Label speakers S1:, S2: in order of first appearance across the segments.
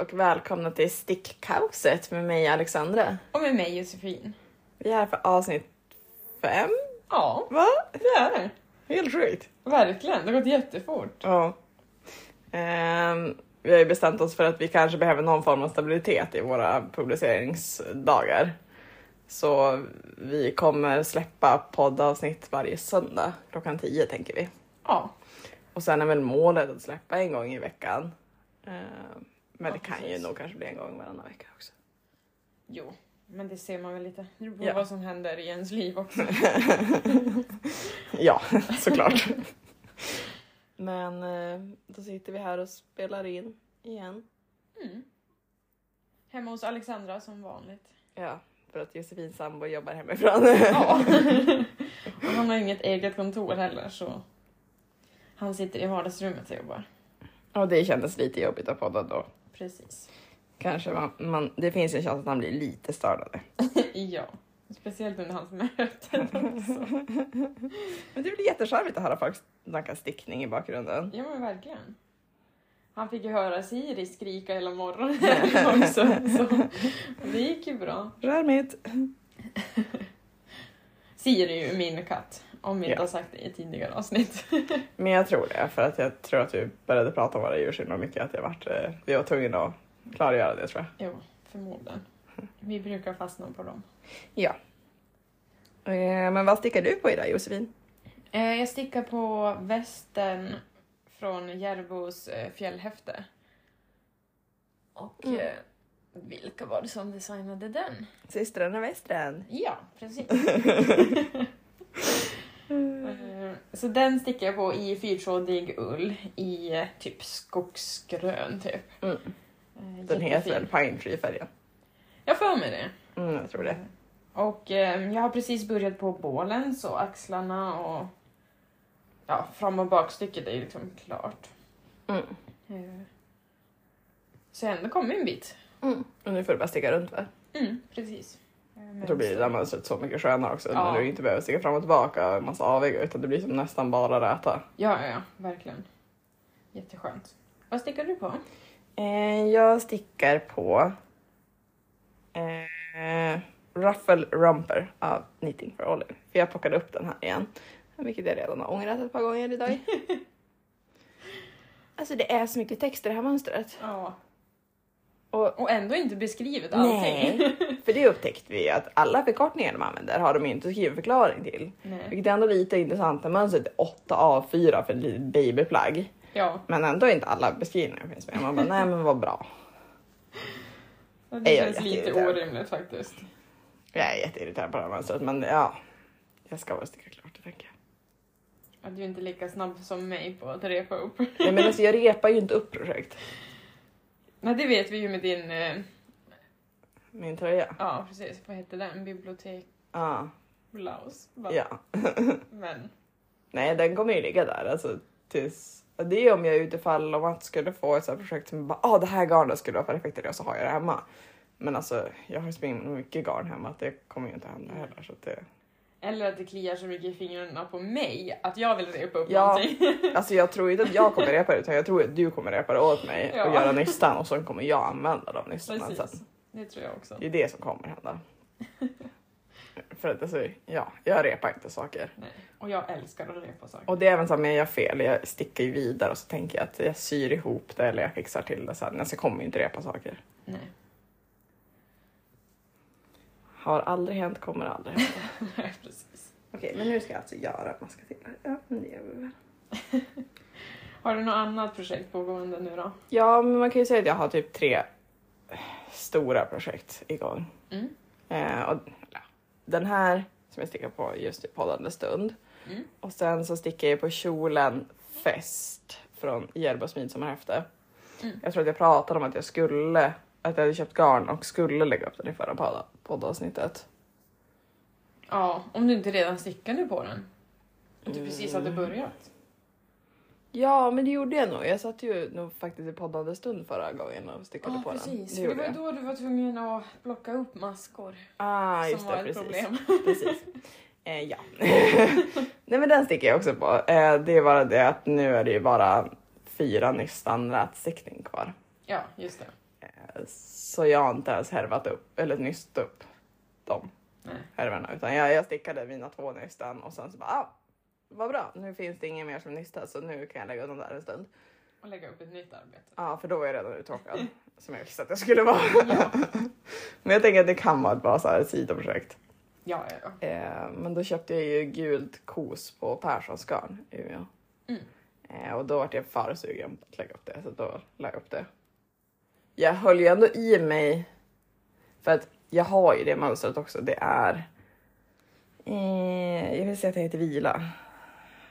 S1: och välkomna till Stickkaoset med mig Alexandra.
S2: Och med mig Josefin.
S1: Vi är här för avsnitt fem,
S2: Ja,
S1: va?
S2: det är det.
S1: Helt sjukt.
S2: Verkligen, det har gått jättefort.
S1: Ja. Ehm, vi har ju bestämt oss för att vi kanske behöver någon form av stabilitet i våra publiceringsdagar. Så vi kommer släppa poddavsnitt varje söndag klockan 10 tänker vi.
S2: Ja,
S1: Och sen är väl målet att släppa en gång i veckan. Ehm, men
S2: Ja,
S1: det kan ju
S2: precis.
S1: nog kanske bli en gång varannan vecka också.
S2: jo. Men det ser man väl lite. Det beror på
S1: Ja.
S2: vad som händer i ens liv också.
S1: Ja, såklart. Men eh, då sitter vi här och spelar in igen.
S2: Mm. Hemma hos Alexandra som vanligt.
S1: Ja, för att Josefin sambo jobbar hemifrån.
S2: Ja. Och han har inget eget kontor heller så han sitter i vardagsrummet och jobbar.
S1: och det kändes lite jobbigt att podda då.
S2: Precis.
S1: Kanske man, man, det finns en chans att han blir lite störd av det.
S2: Ja. Speciellt under hans möten också.
S1: Men det blir jättecharmigt att höra folk snacka stickning i bakgrunden.
S2: Ja men verkligen. Han fick ju höra Siri skrika hela morgonen också. Så det gick ju bra.
S1: Charmigt!
S2: Siri är ju min katt, om vi inte
S1: Ja.
S2: har sagt det i tidigare avsnitt.
S1: Men jag tror det, för att jag tror att vi började prata om våra djur så himla mycket att jag, vart, eh, jag var tvungen att klargöra det tror jag.
S2: jo, förmodligen. Vi brukar fastna på dem.
S1: Eh, Men vad stickar du på idag Josefin?
S2: Eh, jag stickar på västen från Järvos eh, fjällhäfte. Och
S1: Mm.
S2: eh, vilka var det som designade den?
S1: Systrarna Västren.
S2: Ja, precis.
S1: Mm.
S2: Eh, Så den stickar jag på i fyrtrådig ull i eh, typ skogsgrön typ.
S1: Mm.
S2: Eh,
S1: Den heter väl
S2: jättefin.
S1: Pine Tree-färgen?
S2: Jag får mig det.
S1: Mm, jag tror det.
S2: Och eh, jag har precis börjat på bålen så axlarna och ja, fram och bakstycket är ju liksom klart.
S1: Mm.
S2: Eh, Så jag har ändå kommit en bit.
S1: Och nu får du bara sticka runt va?
S2: Mm, precis. Eh, men
S1: Då blir det
S2: så-
S1: där mönstret så mycket skönare också
S2: Ja.
S1: när du inte behöver sticka fram och tillbaka en massa aviga utan det blir som nästan bara räta.
S2: Ja, ja, ja, verkligen. Jätteskönt. Vad stickar du på?
S1: Eh, jag stickar på eh, Ruffle Romper av Knitting for Olive. För jag plockade upp den här igen. Vilket jag redan har ångrat ett par gånger idag. alltså det är så mycket text i det här mönstret.
S2: Ja.
S1: Och
S2: Och ändå inte beskrivit allting.
S1: Nej, för det upptäckte vi att alla förkortningar de använder har de inte skrivit förklaring till.
S2: Nej.
S1: Vilket är ändå lite intressant när mönstret är 8 av 4 för ett litet babyplagg.
S2: Ja.
S1: Men ändå inte alla beskrivningar finns med. Man bara, nej men vad bra.
S2: Det
S1: Nej, jag
S2: känns
S1: är
S2: lite
S1: jätteirriterad.
S2: orimligt faktiskt.
S1: Jag är jätteirriterad på det här mönstret men ja. Jag ska bara sticka klart det tänker jag.
S2: Att du inte är lika snabb som mig på att repa upp.
S1: Nej men alltså jag repar ju inte upp projekt.
S2: Nej, det vet vi ju med din... eh,
S1: Min tröja.
S2: Ja, precis. Vad hette den? Bibliotekblaus.
S1: Ja.
S2: va?
S1: ja.
S2: Men
S1: Nej den kommer ju ligga där alltså tills. Det är ju om jag är utifall om man skulle få ett sånt här projekt som bara ah det här garnet skulle vara perfekt till det och så har jag det hemma. Men alltså jag har ju så mycket garn hemma att det kommer ju inte hända heller så att det.
S2: Eller att det kliar så mycket i fingrarna på mig att jag vill repa upp
S1: Ja.
S2: någonting.
S1: Alltså jag tror inte att jag kommer repa det utan jag tror att du kommer repa det åt mig
S2: Ja.
S1: och göra nystan och sen kommer jag använda de nystarna sen.
S2: Precis. Det tror jag också.
S1: Det är det som kommer hända. För att alltså, ja, jag repar inte saker.
S2: Och jag älskar att repa saker.
S1: Och det är även så här, men jag gör fel, jag sticker ju vidare och så tänker jag att jag syr ihop det eller jag fixar till det sen. Alltså jag kommer ju inte repa saker.
S2: Nej.
S1: Har aldrig hänt, kommer aldrig hända.
S2: Nej, precis.
S1: Okej, men nu ska jag alltså göra maska till. Ja, men det gör vi väl.
S2: Har du något annat projekt pågående nu då?
S1: Ja, men man kan ju säga att jag har typ tre eh, stora projekt igång.
S2: Mm.
S1: Eh, och, ja, den här som jag stickar på just i poddande stund.
S2: Mm.
S1: Och sen så stickar jag på kjolen Fest från Järvas midsommarhäfte.
S2: Mm.
S1: Jag tror att jag pratade om att jag skulle, att jag hade köpt garn och skulle lägga upp den i förra podd- poddavsnittet.
S2: Ja, om du inte redan stickar nu på den. Att du precis
S1: Mm.
S2: hade börjat.
S1: Ja, men det gjorde jag nog. Jag satt ju nog faktiskt i poddande stund förra gången och stickade
S2: Ja,
S1: på
S2: precis.
S1: den.
S2: För det
S1: gjorde
S2: var
S1: jag.
S2: då du var tvungen att plocka upp maskor.
S1: Ah, just
S2: som
S1: det,
S2: var ett
S1: precis.
S2: problem.
S1: precis. Eh, ja. Nej men den sticker jag också på. Eh, det är bara det att nu är det ju bara fyra nystan rätstickning kvar.
S2: Ja, just det.
S1: Eh, Så jag har inte ens härvat upp, eller nyst upp de
S2: Nej.
S1: härvorna. Utan jag, jag stickade mina två nystan och sen så bara, ah, vad bra, nu finns det inget mer som nystas så nu kan jag lägga undan där en stund.
S2: Och lägga upp ett nytt arbete.
S1: Ja, för då var jag redan uttråkad. som jag visste att jag skulle vara. Men jag tänker att det kan vara ett bra så här, sidoprojekt.
S2: Ja, ja, ja.
S1: Eh, men då köpte jag ju gult kos på Perssons garn i Umeå.
S2: Mm.
S1: Eh, och då var jag för sugen på att lägga upp det, så då la jag upp det. Jag höll ju ändå i mig, för att jag har ju det mönstret också. Det är... Eh, jag vill säga att det heter vila,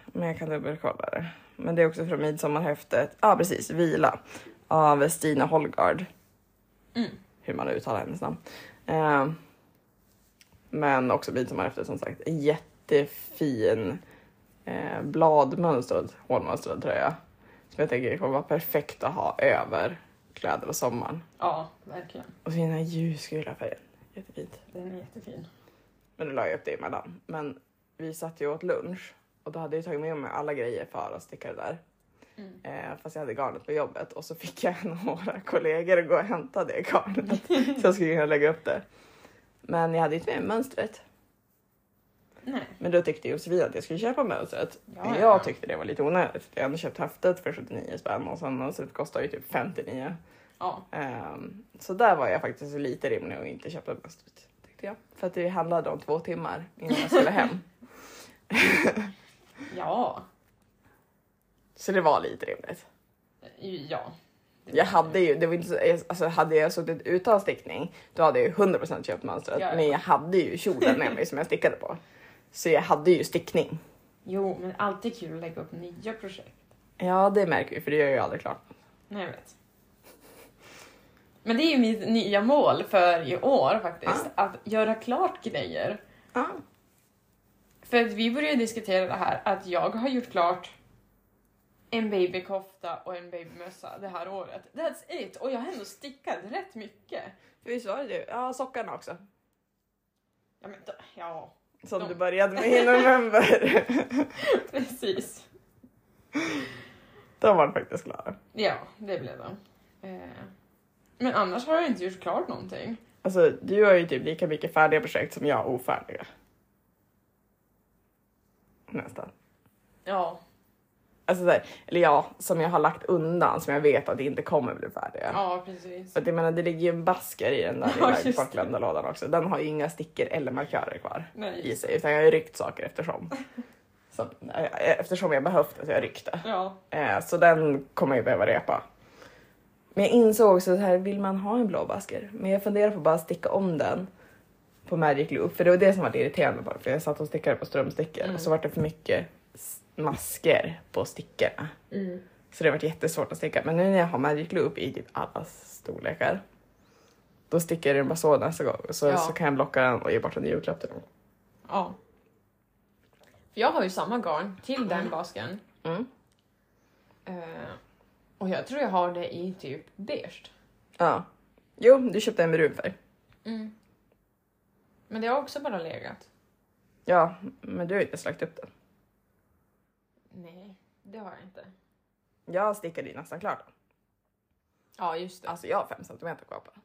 S1: men jag kan dubbelkolla det. Men det är också från midsommarhäftet. Ja, ah, precis. Vila av Stina Holgard.
S2: Mm.
S1: Hur man uttalar hennes namn. Eh, men också midsommarhäftet som sagt. En jättefin eh, bladmönstrad, hålmönstrad tröja. Som jag tänker kommer vara perfekt att ha över kläder och sommaren.
S2: Ja, verkligen.
S1: Och så den här ljusgula färgen. Jättefint.
S2: Den är jättefin.
S1: Men då la jag upp det emellan. Men vi satt ju åt lunch och då hade jag tagit med mig alla grejer för att sticka det där.
S2: Mm.
S1: Eh, fast jag hade garnet på jobbet och så fick jag några kollegor att gå och hämta det garnet så jag skulle kunna lägga upp det. Men jag hade inte med mönstret.
S2: Nej.
S1: Men då tyckte Josefin att jag skulle köpa mönstret.
S2: Ja, ja, ja.
S1: Jag tyckte det var lite onödigt. Jag hade köpt häftet för 79 spänn och sen mönstret kostar ju typ 59.
S2: Ja.
S1: Ehm, så där var jag faktiskt lite rimlig och inte köpte mönstret. Tyckte jag. För att det handlade om två timmar innan jag skulle hem.
S2: Ja.
S1: Så det var lite rimligt.
S2: Ja. Det
S1: Jag
S2: var-
S1: hade ju, det var inte så, alltså hade jag suttit utan stickning då hade jag ju 100% köpt mönstret.
S2: Ja, ja.
S1: Men jag hade ju kjolen med mig som jag stickade på. Så jag hade ju stickning.
S2: Jo, men alltid kul att lägga upp nya projekt.
S1: Ja det märker vi för det gör jag ju aldrig klart.
S2: Nej, jag vet. Men det är ju mitt nya mål för i år faktiskt. Att göra klart grejer.
S1: Ah.
S2: För att vi började diskutera det här att jag har gjort klart en babykofta och en babymössa det här året. That's it! Och jag har ändå stickat rätt mycket.
S1: För visst var det du? Ja sockarna också.
S2: Ja, men, då- ja
S1: Som
S2: De-
S1: du började med i november.
S2: precis.
S1: De var faktiskt klara.
S2: Ja, det blev de. Eh, Men annars har jag inte gjort klart någonting.
S1: Alltså du har ju typ lika mycket färdiga projekt som jag har ofärdiga. Nästan.
S2: Ja,
S1: Alltså där, eller ja, som jag har lagt undan som jag vet att det inte kommer bli färdiga.
S2: ja precis.
S1: För att jag menar det ligger ju en basker i den där
S2: Ja,
S1: lilla
S2: just det.
S1: bortglömda lådan också. Den har ju inga stickor eller markörer kvar
S2: Nej,
S1: i
S2: just-
S1: sig utan jag har ju ryckt saker eftersom. Så, eh, eftersom jag behövt det så har jag ryckt det.
S2: Ja,
S1: Eh, Så den kommer jag ju behöva repa. Men jag insåg också så här, vill man ha en blå basker? Men jag funderar på att bara sticka om den på Magic Loop. För det var det som var det irriterande bara. För jag satt och stickade på strömstickor
S2: Mm.
S1: och så var det för mycket s- masker på stickorna.
S2: Mm.
S1: Så det har varit jättesvårt att sticka. Men nu när jag har Magic Loop i typ alla storlekar. Då sticker jag den bara så nästa gång. Så,
S2: Ja.
S1: så kan jag blocka den och ge bort en i julklapp till någon.
S2: ja. För jag har ju samma garn till den basken.
S1: Mm.
S2: Eh, Och jag tror jag har det i typ beige.
S1: Ja. Jo, du köpte en med brun färg.
S2: Mm. Men det har också bara legat.
S1: Ja, men du har ju inte slagit upp den.
S2: Nej, det har jag inte.
S1: Jag stickade ju nästan klart den.
S2: Ja, just det.
S1: Alltså jag har 5 cm kvar på den.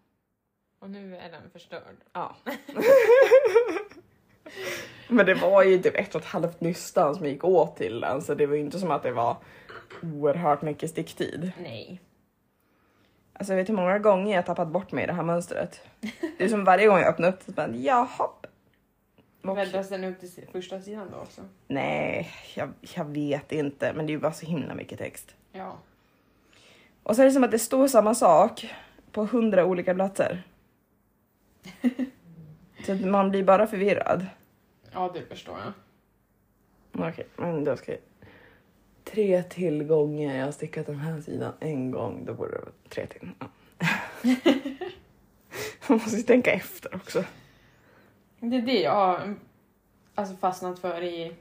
S2: Och nu är den förstörd.
S1: Ja. Men det var ju typ ett och ett halvt nystan som gick åt till den så det var ju inte som att det var oerhört mycket sticktid.
S2: Nej.
S1: Alltså jag vet hur många gånger jag tappat bort mig i det här mönstret. Det är som varje gång jag öppnar upp det så bara jaha. Och,
S2: Väldas den upp till si- första sidan då också?
S1: nej, jag, jag vet inte men det är ju bara så himla mycket text.
S2: Ja.
S1: Och så är det som att det står samma sak på hundra olika platser. Så att man blir bara förvirrad.
S2: Ja, det förstår jag.
S1: Okej, men då ska jag... Tre till gånger. Jag har stickat den här sidan en gång. Då borde det vara tre till. Ja. Man måste ju tänka efter också.
S2: Det är det jag har alltså, fastnat för i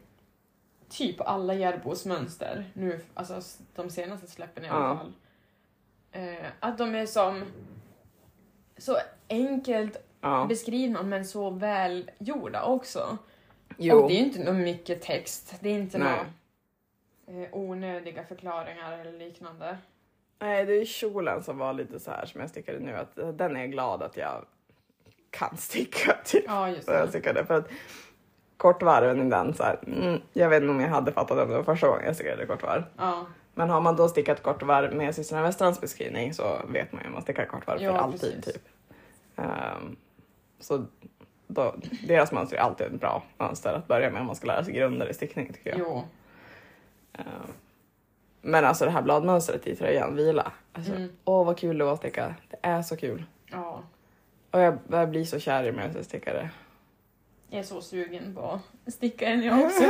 S2: typ alla Järbos mönster. Nu, alltså s- de senaste släppen i alla
S1: Ja.
S2: fall. Eh, att de är som så enkelt
S1: Ja.
S2: beskrivna men så välgjorda också.
S1: Jo.
S2: Och det är ju inte någon mycket text. Det är inte
S1: Nej.
S2: några eh, onödiga förklaringar eller liknande.
S1: Nej, det är kjolen som var lite så här som jag stickade nu, att eh, den är jag glad att jag kan sticka typ.
S2: Ja, just
S1: Så jag
S2: det.
S1: stickade för att kortvarven i den så här, mm, jag vet inte om jag hade fattat om det var första gången jag stickade kortvarv.
S2: Ja,
S1: Men har man då stickat kortvarv med systrarna Westerlands beskrivning så vet man ju att man stickar kortvarv
S2: Ja,
S1: för alltid.
S2: precis.
S1: Typ. Ehm, så då, deras mönster är alltid ett bra mönster att börja med om man ska lära sig grunder i stickning tycker jag.
S2: jo.
S1: Ehm, men alltså det här bladmönstret i tröjan, vila. Alltså,
S2: Mm.
S1: Åh vad kul det var att sticka, det är så kul.
S2: Ja.
S1: Och jag, jag blir så kär i mig jag stickar det.
S2: Jag är så sugen på att sticka en jag också.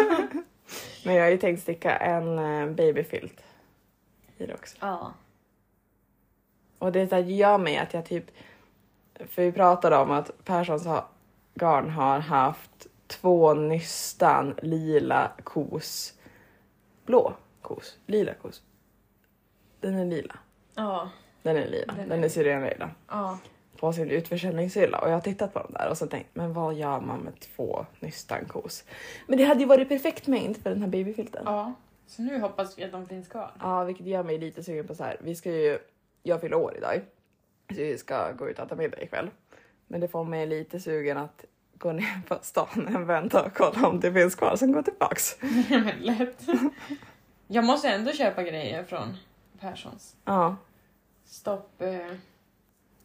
S1: Men jag har ju tänkt sticka en eh, babyfilt i det också.
S2: ja.
S1: Och det där gör mig att jag typ... För vi pratade om att Perssons ha- garn har haft två nystan lila kos. Blå kos. Lila kos. Den är lila.
S2: Ja.
S1: Den är lila.
S2: Den är-
S1: Den är syrenlila.
S2: Ja.
S1: På sin utförsäljningshylla. Och jag har tittat på dem där och så tänkt, men vad gör man med två nystan kos? Men det hade ju varit perfekt mängd för den här babyfilten.
S2: ja. Så nu hoppas vi att de finns kvar.
S1: Ja, vilket gör mig lite sugen på så här. Vi ska ju, jag fyller år idag, så vi ska gå ut och äta middag ikväll. Men det får mig lite sugen att gå ner på stan en vända och kolla om det finns kvar, sen gå tillbaks.
S2: Ja, men lätt. Jag måste ändå köpa grejer från Perssons.
S1: Ja,
S2: Stopp. Eh,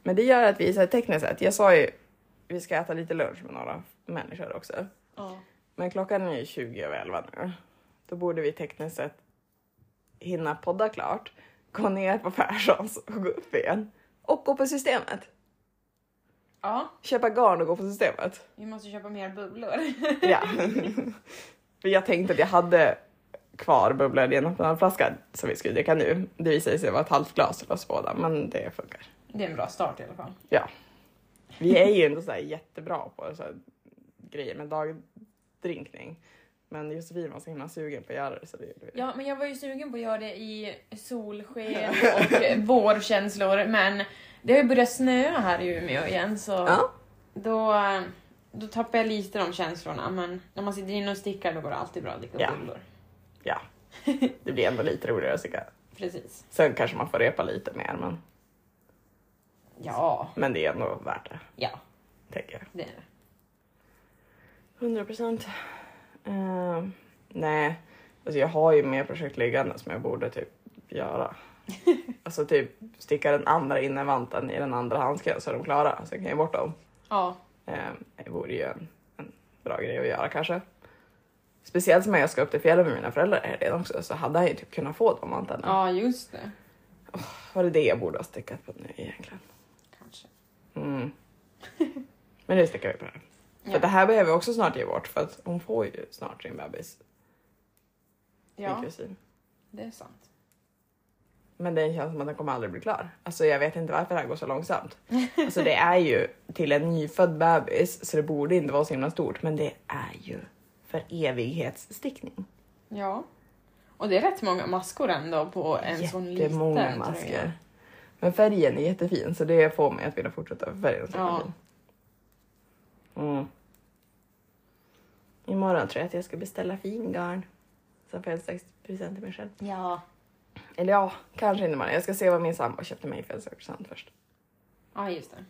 S1: men det gör att vi så här, tekniskt sett, jag sa ju vi ska äta lite lunch med några människor också.
S2: ja.
S1: Men klockan är ju 20 över 11 nu. Då borde vi tekniskt sett hinna podda klart, gå ner på Perssons och gå upp igen. Och gå på systemet.
S2: ja,
S1: Köpa garn och gå på systemet.
S2: vi måste köpa mer bubblor.
S1: Ja. För jag tänkte att jag hade kvar bubblor i en öppnarflaska som vi skulle dricka nu. Det visade sig vara ett halvt glas till oss båda, men det funkar.
S2: Det är en bra start i alla fall.
S1: Vi är ju ändå så här jättebra på så här grejer med dagdrinkning. Men Josefin var så himla sugen på att göra det så det gjorde vi.
S2: Ja, men jag var ju sugen på att göra det i solsken och vårkänslor, men det har ju börjat snöa här i Umeå igen så
S1: Ja.
S2: då, då tappar jag lite de känslorna. Men när man sitter inne och stickar då går det alltid bra att dricka
S1: Ja.
S2: bubblor.
S1: Det blir ändå lite roligare att sticka.
S2: Precis.
S1: Sen kanske man får repa lite mer, men,
S2: Ja,
S1: men det är ändå värt det,
S2: ja,
S1: tänker jag.
S2: det är det.
S1: 100 procent. Eh, nej, alltså jag har ju mer projekt liggande som jag borde typ göra. alltså typ sticka den andra innervanten i den andra handsken så är de klara. Sen kan jag ge bort dem.
S2: Ja,
S1: Ehm, det vore ju en, en bra grej att göra kanske. Speciellt som jag ska upp till fjällen med mina föräldrar här redan också så hade jag ju typ kunnat få de vantarna.
S2: ja just det.
S1: Var det det jag borde ha stickat på nu egentligen?
S2: Kanske.
S1: Mm. Men nu stickar vi på det här.
S2: Ja.
S1: För det här behöver jag också snart ge bort för att hon får ju snart sin bebis, min
S2: Ja,
S1: kusin.
S2: det är sant.
S1: Men den känns som att den kommer aldrig bli klar. Alltså jag vet inte varför det här går så långsamt. Alltså det är ju till en nyfödd bebis så det borde inte vara så himla stort men det är ju för evighetsstickning.
S2: Ja. Och det är rätt många maskor ändå på en sån liten
S1: Jättemånga
S2: tröja.
S1: masker. Men färgen är jättefin så det får mig att vilja fortsätta för färgen är så
S2: Ja.
S1: ja. mm. Imorgon tror jag att jag ska beställa fingarn. Som födelsedagspresent till mig själv.
S2: Ja.
S1: Eller ja, kanske inte imorgon. Jag ska se vad min sambo köpte mig i födelsedagspresent först.
S2: Ja, just det.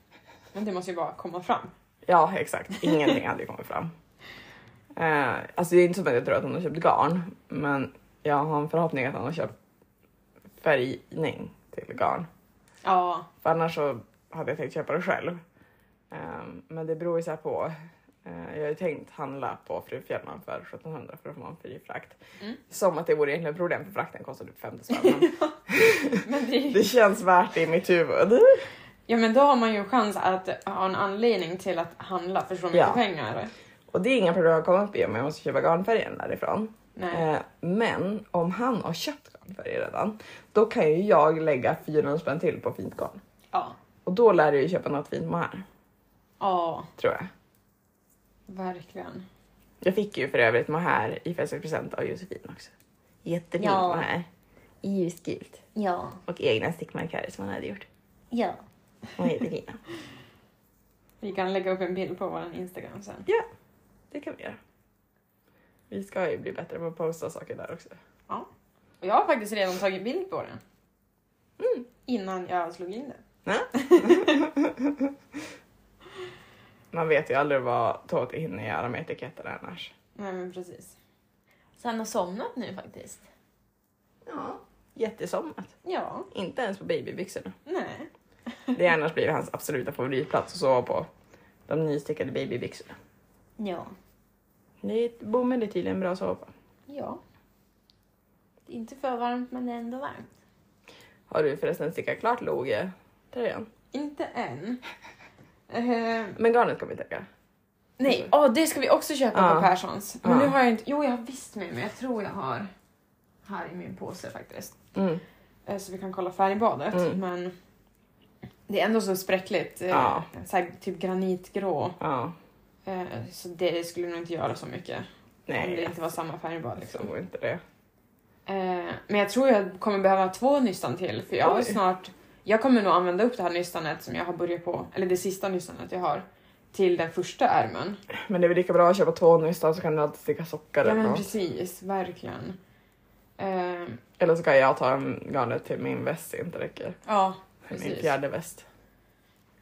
S2: Men det måste ju bara komma fram.
S1: Ja, exakt. Ingenting hade ju kommit fram. Eh, alltså det är inte som att jag tror att han har köpt garn, men jag har en förhoppning att han har köpt färgning till garn.
S2: Ja,
S1: För annars så hade jag tänkt köpa det själv. Eh, men det beror ju så här på. Eh, jag har ju tänkt handla på Fru Fjällman för 1700 för att få en fri frakt.
S2: Mm.
S1: Som att det vore egentligen ett problem för frakten kostade typ 50 spänn. men
S2: men det,
S1: Det känns värt det i mitt huvud.
S2: ja, men då har man ju chans att ha en anledning till att handla för så mycket
S1: Ja.
S2: pengar.
S1: Och det är inga problem att komma upp i om jag måste köpa garnfärgen därifrån.
S2: Nej.
S1: Eh, Men om han har köpt garn för er redan, då kan ju jag lägga 400 spänn till på fint garn.
S2: Ja.
S1: Och då lär jag ju köpa något fint med här,
S2: ja,
S1: tror jag.
S2: verkligen.
S1: Jag fick ju för övrigt mohair i födelsedagspresent av Josefin också. Jättefint
S2: Ja.
S1: mohair. I ljusgult.
S2: Ja.
S1: Och egna stickmarkörer som han hade gjort.
S2: Ja.
S1: Och jättefina.
S2: Vi kan lägga upp en bild på vår Instagram sen.
S1: Det kan vi göra. Vi ska ju bli bättre på att posta saker där också.
S2: Och jag har faktiskt redan tagit bild på den. Innan jag slog in den.
S1: Man vet ju aldrig vad Tåt hinner göra med etiketten annars.
S2: Nej men precis. Så han har somnat nu faktiskt?
S1: Ja. Jättesomnat.
S2: Ja.
S1: Inte ens på babybyxorna.
S2: Nej.
S1: Det har annars blivit hans absoluta favoritplats att sova på. De nystickade babybyxorna.
S2: Ja.
S1: Det är ett bomull är tydligen bra att sova på.
S2: Ja. Det är inte för varmt men det är ändå varmt.
S1: Har du förresten stickat klart Loge-tröjan?
S2: Inte än. Eh,
S1: Men garnet kommer vi täcka.
S2: nej, åh det ska vi också köpa
S1: Ja.
S2: på Perssons. Men
S1: Ja.
S2: nu har jag inte, jo jag har visst med mig, jag tror jag har här i min påse faktiskt.
S1: Mm.
S2: Eh, Så vi kan kolla färg i badet.
S1: Mm.
S2: Men det är ändå så spräckligt. eh,
S1: Ja.
S2: Så här, typ granitgrå.
S1: Ja.
S2: Eh, Så det skulle nog inte göra så mycket. om det
S1: Nej,
S2: inte var samma färg i badet.
S1: jag
S2: Liksom.
S1: tror inte det.
S2: Eh, Men jag tror jag kommer behöva två nystan till. För jag har
S1: Oj.
S2: snart... Jag kommer nog använda upp det här nystanet som jag har börjat på. Eller det sista nystanet jag har. Till den första ärmen.
S1: Men det är väl lika bra att köpa två nystan så kan du alltid sticka sockar
S2: Ja
S1: eller
S2: men
S1: något.
S2: precis, verkligen. Eh,
S1: Eller så kan jag ta en garnet till min väst det inte räcker.
S2: Ja,
S1: Till min
S2: precis.
S1: fjärde väst.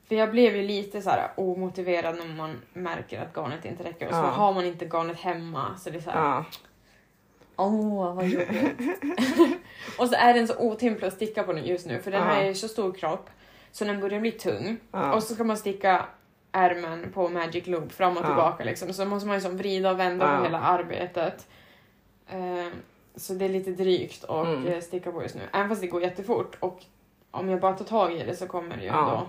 S2: För jag blev ju lite så här omotiverad när man märker att garnet inte räcker och så
S1: Ja.
S2: har man inte garnet hemma så det är så här,
S1: Ja.
S2: åh vad jobbigt. och så är den så otymplig att sticka på den just nu för den
S1: Ja.
S2: har ju så stor kropp så den börjar bli tung
S1: Ja.
S2: och så ska man sticka ärmen på magic loop fram och
S1: Ja.
S2: tillbaka liksom så måste man liksom vrida och vända
S1: Ja.
S2: på hela arbetet. Eh, så det är lite drygt att
S1: Mm.
S2: eh, sticka på just nu även fast det går jättefort och om jag bara tar tag i det så kommer det ju
S1: Ja.
S2: ändå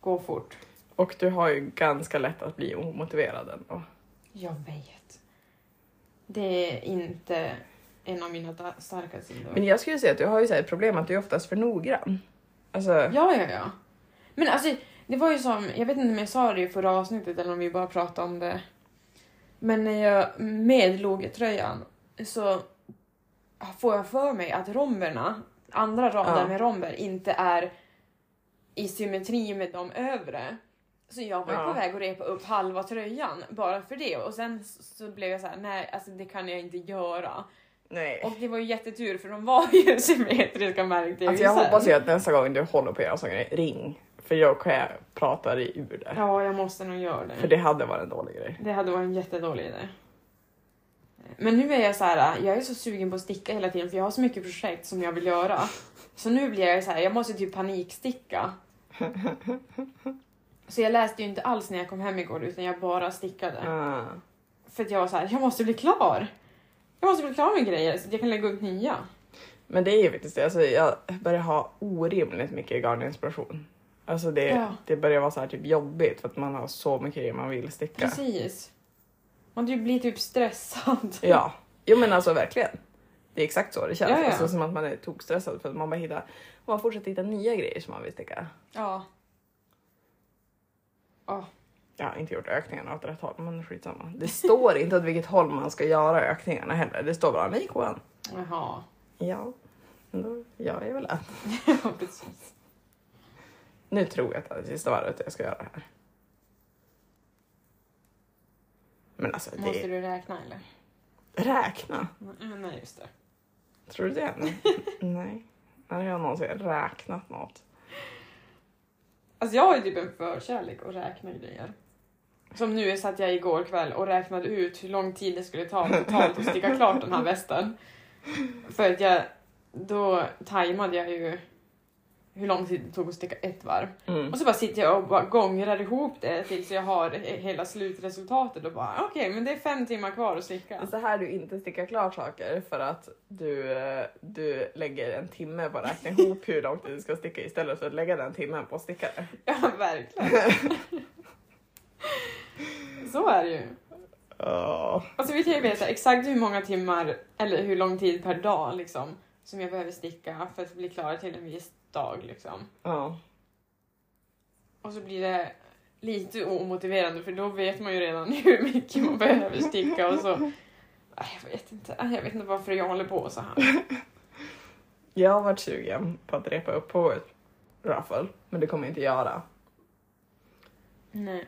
S2: gå fort.
S1: Och du har ju ganska lätt att bli omotiverad ändå.
S2: Jag vet. Det är inte en av mina da- starka sidor.
S1: Men jag skulle säga att du har ju så här ett problem att du är oftast för noggrann. Alltså,
S2: Ja, ja, ja. Men alltså, det var ju som, jag vet inte om jag sa det i förra avsnittet eller om vi bara pratade om det. Men när jag med logetröjan så får jag för mig att romberna, andra rader
S1: Ja.
S2: med romber, inte är i symmetri med de övre. Så jag var ju
S1: Ja.
S2: på väg att repa upp halva tröjan bara för det och sen s- så blev jag så här: nej alltså det kan jag inte göra.
S1: nej.
S2: Och det var ju jättetur för de var ju symmetriska märkte
S1: Alltså, jag hoppas ju att nästa gång du håller på att göra en sån grej, ring. För jag kan jag prata dig ur det.
S2: Ja, jag måste nog göra
S1: För det hade varit en dålig grej.
S2: Det hade varit en jättedålig idé. Men nu är jag så här, jag är så sugen på att sticka hela tiden för jag har så mycket projekt som jag vill göra. Så nu blir jag så här, jag måste typ paniksticka. Så jag läste ju inte alls när jag kom hem igår utan jag bara stickade.
S1: Ah.
S2: För att jag var så här, jag måste bli klar. Jag måste bli klar med grejer så att jag kan lägga upp nya.
S1: Men det är ju faktiskt det, alltså, jag börjar ha orimligt mycket garninspiration. Alltså det,
S2: Ja.
S1: det börjar vara så här typ jobbigt för att man har så mycket grejer man vill sticka.
S2: Precis. Man typ blir typ stressad.
S1: Ja, jo men alltså verkligen. Det är exakt så det känns.
S2: Ja, ja.
S1: Alltså, som att man är tokstressad för att man bara hittar, man fortsätter hitta nya grejer som man vill sticka.
S2: Ja.
S1: Jag har inte gjort ökningarna åt rätt håll men skitsamma. Det står inte åt vilket håll man ska göra ökningarna heller. Det står bara make one.
S2: Jaha.
S1: Ja, men då gör jag väl det.
S2: Ja, precis.
S1: Nu tror jag att det är sista varvet jag ska göra det här. Men alltså, det...
S2: Måste du räkna eller?
S1: Räkna?
S2: Nej, just det.
S1: Tror du det? Nej. När har jag någonsin räknat något?
S2: Alltså jag har ju typ en förkärlek att räkna grejer. Som nu satt jag igår kväll och räknade ut hur lång tid det skulle ta totalt att sticka klart den här västen. För att jag, då tajmade jag ju hur lång tid det tog att sticka ett varv.
S1: Mm.
S2: Och så bara sitter jag och bara gångrar ihop det tills jag har he- hela slutresultatet och bara okej, men det är fem timmar kvar att sticka.
S1: Så här du inte stickar klart saker för att du, eh, du lägger en timme på att räkna ihop hur långt du ska sticka istället för att lägga den timmen på att sticka det.
S2: Ja, verkligen. Så är det ju.
S1: Ja.
S2: Alltså vi kan ju veta exakt hur många timmar eller hur lång tid per dag liksom som jag behöver sticka för att bli klar till en viss dag liksom.
S1: Ja.
S2: Och så blir det lite omotiverande för då vet man ju redan hur mycket man behöver sticka och så. Ah, Jag vet inte, Ah, jag vet inte varför jag håller på så här.
S1: Jag har varit sugen på att repa upp på ett raffel, men det kommer jag inte göra.
S2: Nej.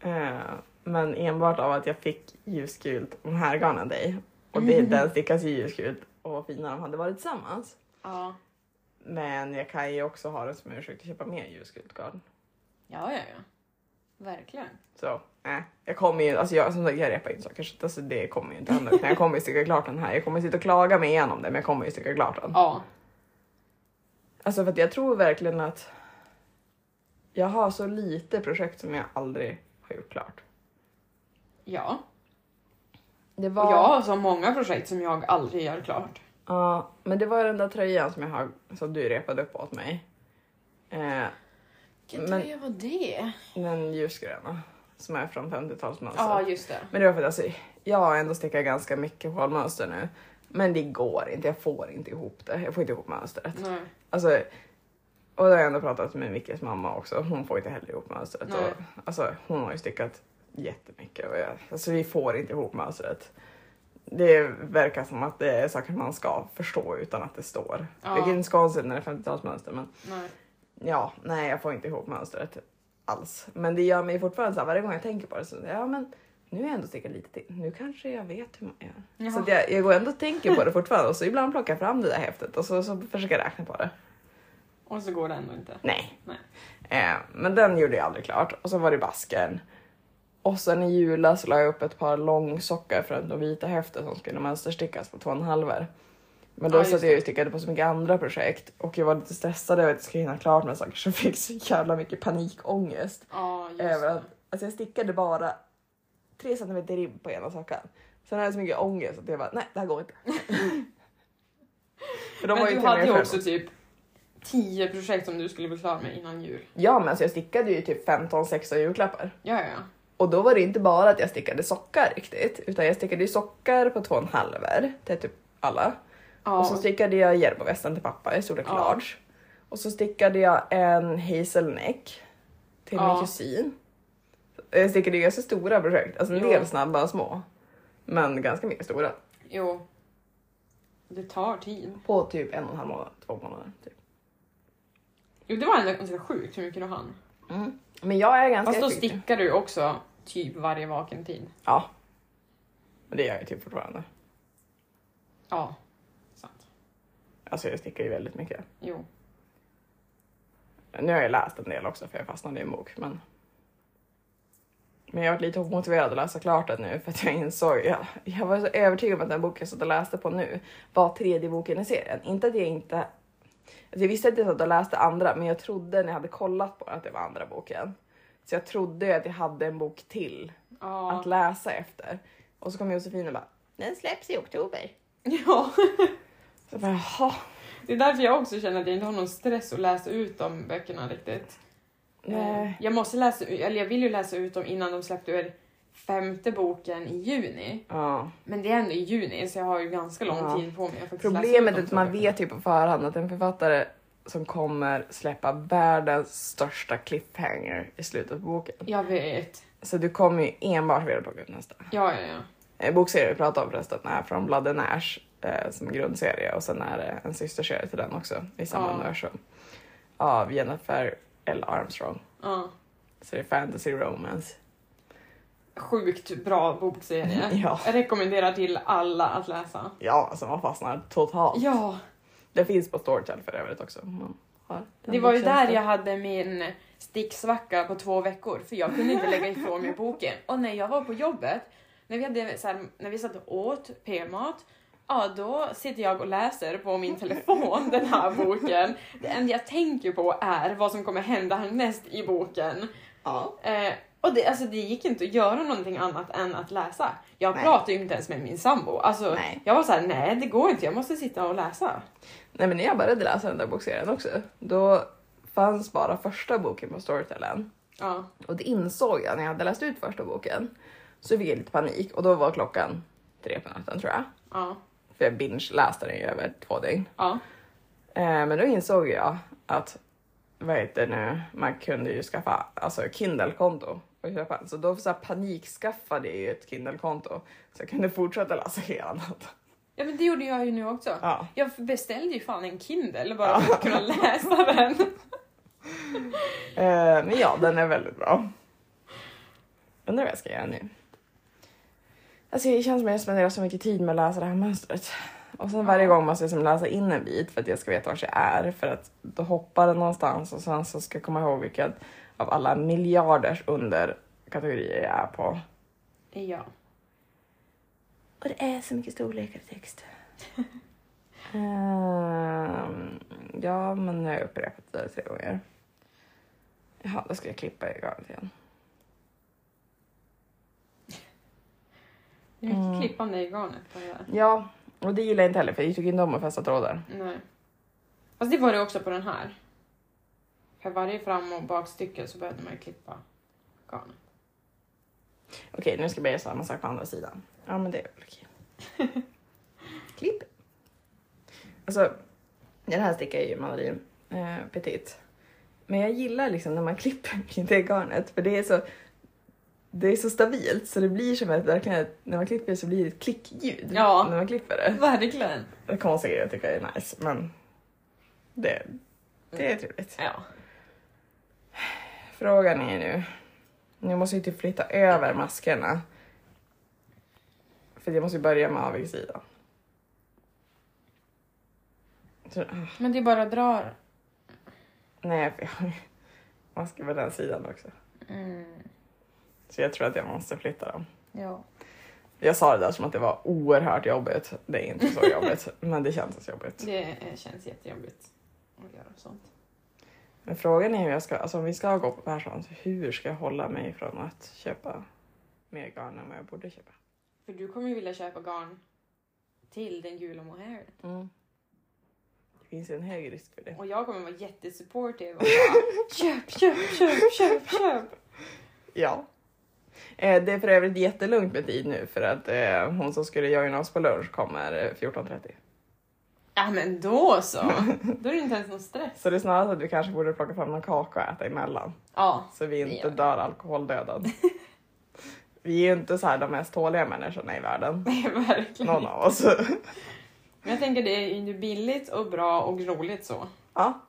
S1: Eh, men enbart av att jag fick ljusgult om härgarn av dig. Och det, den stickas ju ljusgult och vad fina de hade varit tillsammans.
S2: Ja.
S1: Men jag kan ju också ha det som ursäkt att köpa mer ljusgult
S2: Ja, ja, ja. Verkligen.
S1: Så nej, jag kommer ju, alltså jag, som sagt jag repar ju inte saker så alltså det kommer ju inte hända. Utan jag kommer ju sticka klart den här. Jag kommer sitta och klaga mig igenom det men jag kommer ju sticka klart den.
S2: Ja.
S1: Alltså för att jag tror verkligen att jag har så lite projekt som jag aldrig har gjort klart.
S2: Ja.
S1: Det
S2: Och jag har så många projekt som jag aldrig gör klart.
S1: Ja, men det var den där tröjan som, jag har, som du repade upp åt mig. Eh,
S2: Vilken
S1: Men-
S2: tröja var det?
S1: den ljusgröna som är från 50-talsmönstret.
S2: Ja, just det.
S1: Men det var för att alltså, jag har ändå stickat ganska mycket hålmönster nu. Men det går inte, jag får inte ihop det. Jag får inte ihop mönstret.
S2: Nej.
S1: Alltså, och det har jag ändå pratat med Mickes mamma också, hon får inte heller ihop mönstret.
S2: Nej.
S1: Och, alltså, hon har ju stickat jättemycket och jag, alltså, vi får inte ihop mönstret. Det verkar som att det är saker man ska förstå utan att det står.
S2: Ja.
S1: Vilket inte är så konstigt när det är 50-talsmönster men
S2: Nej.
S1: ja, nej jag får inte ihop mönstret alls. Men det gör mig fortfarande så här, varje gång jag tänker på det så ja men nu har jag ändå stickat lite till, nu kanske jag vet hur man gör.
S2: Jaha.
S1: Så att jag, jag går ändå och tänker på det fortfarande och så ibland plockar jag fram det där häftet och så, så försöker jag räkna på det.
S2: Och så går det ändå inte.
S1: Nej.
S2: Nej.
S1: Eh, men den gjorde jag aldrig klart. Och så var det basken. Och sen i julas la jag upp ett par långsockor från de vita häften som skulle mönsterstickas på två och en halver. Men då
S2: Ja, just
S1: satt jag ju och stickade på så mycket andra projekt och jag var lite stressad över att jag skulle hinna klart med saker så jag fick så jävla mycket panikångest.
S2: Ja, just
S1: Över att,
S2: det.
S1: alltså jag stickade bara tre centimeter ribb på ena sockan. Sen hade jag så mycket ångest att jag bara, nej det här går inte. För de var
S2: Men
S1: till
S2: du
S1: och med
S2: hade ju
S1: fem-
S2: också typ tio projekt som du skulle bli klar med innan jul.
S1: Ja men så jag stickade ju typ 15-16 julklappar.
S2: Ja, ja, ja.
S1: Och då var det inte bara att jag stickade sockar riktigt, utan jag stickade ju sockar på två och en halver till typ alla.
S2: ja.
S1: Och så stickade jag järbovästen till pappa i storlek
S2: Ja.
S1: large. Och så stickade jag en hazelneck till
S2: Ja.
S1: min kusin. Jag stickade ju ganska stora projekt, alltså en
S2: Jo.
S1: del snabba och små. Men ganska mycket stora.
S2: Jo. Det tar tid.
S1: På typ en och en halv månad, två månader. Typ.
S2: Jo, det var ändå ganska sjukt hur mycket du hann.
S1: Mm. Men jag är ganska
S2: Fast då
S1: effektiv.
S2: stickar du ju också typ varje vaken tid.
S1: Ja. Men det gör jag ju typ fortfarande.
S2: Ja. Sant.
S1: Alltså jag stickar ju väldigt mycket.
S2: Jo.
S1: Nu har jag läst en del också för jag fastnade i en bok. Men, men jag har varit lite omotiverad att läsa klart den nu för att jag insåg, jag, jag var så övertygad om att den boken jag satt och läste på nu var tredje boken i serien. Inte att jag inte, alltså jag visste att jag satt och läste andra men jag trodde när jag hade kollat på den att det var andra boken. Så jag trodde ju att jag hade en bok till
S2: Ja.
S1: att läsa efter. Och så kom Josefin och bara, den släpps i oktober.
S2: ja.
S1: Så jag bara, jaha.
S2: Det är därför jag också känner att jag inte har någon stress att läsa ut de böckerna riktigt.
S1: Nej.
S2: Eh, Jag måste läsa, eller jag vill ju läsa ut dem innan de släppte ur femte boken i juni.
S1: Ja.
S2: Men det är ändå i juni så jag har ju ganska lång
S1: Ja.
S2: tid på mig att faktiskt läsa ut
S1: Problemet är
S2: de
S1: att
S2: två
S1: man
S2: böckerna.
S1: vet ju på förhand att en författare som kommer släppa världens största cliffhanger i slutet av boken.
S2: Jag vet.
S1: Så du kommer ju enbart vilja plocka upp nästa.
S2: Ja, ja, ja.
S1: Eh, Bokserien vi pratar om förresten är från Blood and Ash eh, som grundserie och sen är det en systerserie till den också i samma
S2: Ja.
S1: universum av Jennifer L Armstrong.
S2: ja.
S1: Så det är fantasy romance.
S2: Sjukt bra bokserie.
S1: Ja,
S2: Jag rekommenderar till alla att läsa.
S1: ja alltså man fastnar totalt.
S2: Ja,
S1: Det finns på Storytel för övrigt också. om Man har den
S2: det var ju där
S1: boktjänsten.
S2: jag hade min sticksvacka på två veckor för jag kunde inte lägga ifrån mig boken. Och när jag var på jobbet, när vi, hade, så här, när vi satt och åt p-mat, ja då sitter jag och läser på min telefon den här boken. Det enda jag tänker på är vad som kommer hända härnäst i boken.
S1: Ja.
S2: Eh, och det, alltså, det gick inte att göra någonting annat än att läsa. Jag
S1: Nej.
S2: pratade ju inte ens med min sambo. Alltså,
S1: Nej.
S2: jag var så här, nej det går inte, jag måste sitta och läsa.
S1: Nej men när jag började läsa den där bokserien också, då fanns bara första boken på Storytelen.
S2: Ja.
S1: Och det insåg jag när jag hade läst ut första boken. Så fick jag lite panik och då var klockan tre på natten tror jag.
S2: Ja.
S1: För jag binge-läste den ju över två dygn.
S2: Ja.
S1: Eh, men då insåg jag att, vad heter det nu, man kunde ju skaffa alltså Kindle-konto. och köpa den. Så då så här, panikskaffade jag ju ett Kindle-konto så jag kunde fortsätta läsa hela natten.
S2: ja, men det gjorde jag ju nu också.
S1: Ja.
S2: Jag beställde ju fan en Kindle bara för att kunna läsa den.
S1: Eh, men ja, den är väldigt bra. Undrar vad jag ska göra nu. Alltså, det känns som att jag spenderar så mycket tid med att läsa det här mönstret. Och sen varje gång måste jag som läsa in en bit för att jag ska veta vart jag är för att då hoppar den någonstans och sen så ska jag komma ihåg vilken av alla miljarders underkategorier jag är på.
S2: Ja.
S1: Och det är så mycket storlekar i text. Ehm, ja, men nu har jag upprepat det där tre gånger. Jaha, då ska jag klippa i garnet igen.
S2: Det är mycket
S1: Mm.
S2: klippande i garnet på det där.
S1: Ja, och det gillar jag inte heller för jag tycker inte om att fästa trådar.
S2: Nej. Fast det var det också på den här. För varje fram och bakstycke så behövde man ju klippa garnet.
S1: Okej, nu ska jag börja göra samma sak på andra sidan. Ja, men det är väl okej. Klipp. Alltså, den här stickan är ju mandarin eh, petit. Men jag gillar liksom när man klipper i det garnet för det är så det är så stabilt så det blir som ett, verkligen ett, när man klipper så blir det ett klickljud
S2: Ja.
S1: när man klipper det.
S2: Verkligen.
S1: Det konstiga grejer tycker jag är nice men det, det är trevligt.
S2: Ja.
S1: Frågan är nu, nu måste jag ju typ flytta över maskerna. För jag måste ju börja med avigsidan. Så-
S2: Men det är bara att dra.
S1: Nej, för jag har ju masker på den sidan också.
S2: Mm.
S1: Så jag tror att jag måste flytta dem.
S2: Ja.
S1: Jag sa det där som att det var oerhört jobbigt. Det är inte så jobbigt, men det kändes jobbigt.
S2: Det eh, känns jättejobbigt att göra sånt.
S1: Men frågan är hur jag ska, alltså om vi ska gå på Perssons, alltså, hur ska jag hålla mig från att köpa mer garn än vad jag borde köpa?
S2: För du kommer ju vilja köpa garn till den gula mohair.
S1: Det finns ju en hög risk för det.
S2: Och jag kommer vara jättesupportive och bara köp, köp, köp, köp, köp.
S1: Ja. Eh, Det är för övrigt jättelugnt med tid nu för att eh, hon som skulle joina oss på lunch kommer eh, 14.30.
S2: Ja men då så. Då är det inte ens någon stress.
S1: Så det är snarare att vi kanske borde plocka fram någon kaka och äta emellan.
S2: Ja.
S1: Så vi inte
S2: gör vi.
S1: dör alkoholdödad. vi är ju inte så här de mest tåliga människorna i världen.
S2: Verkligen.
S1: Någon av oss.
S2: Men jag tänker det är ju billigt och bra och roligt så.
S1: ja.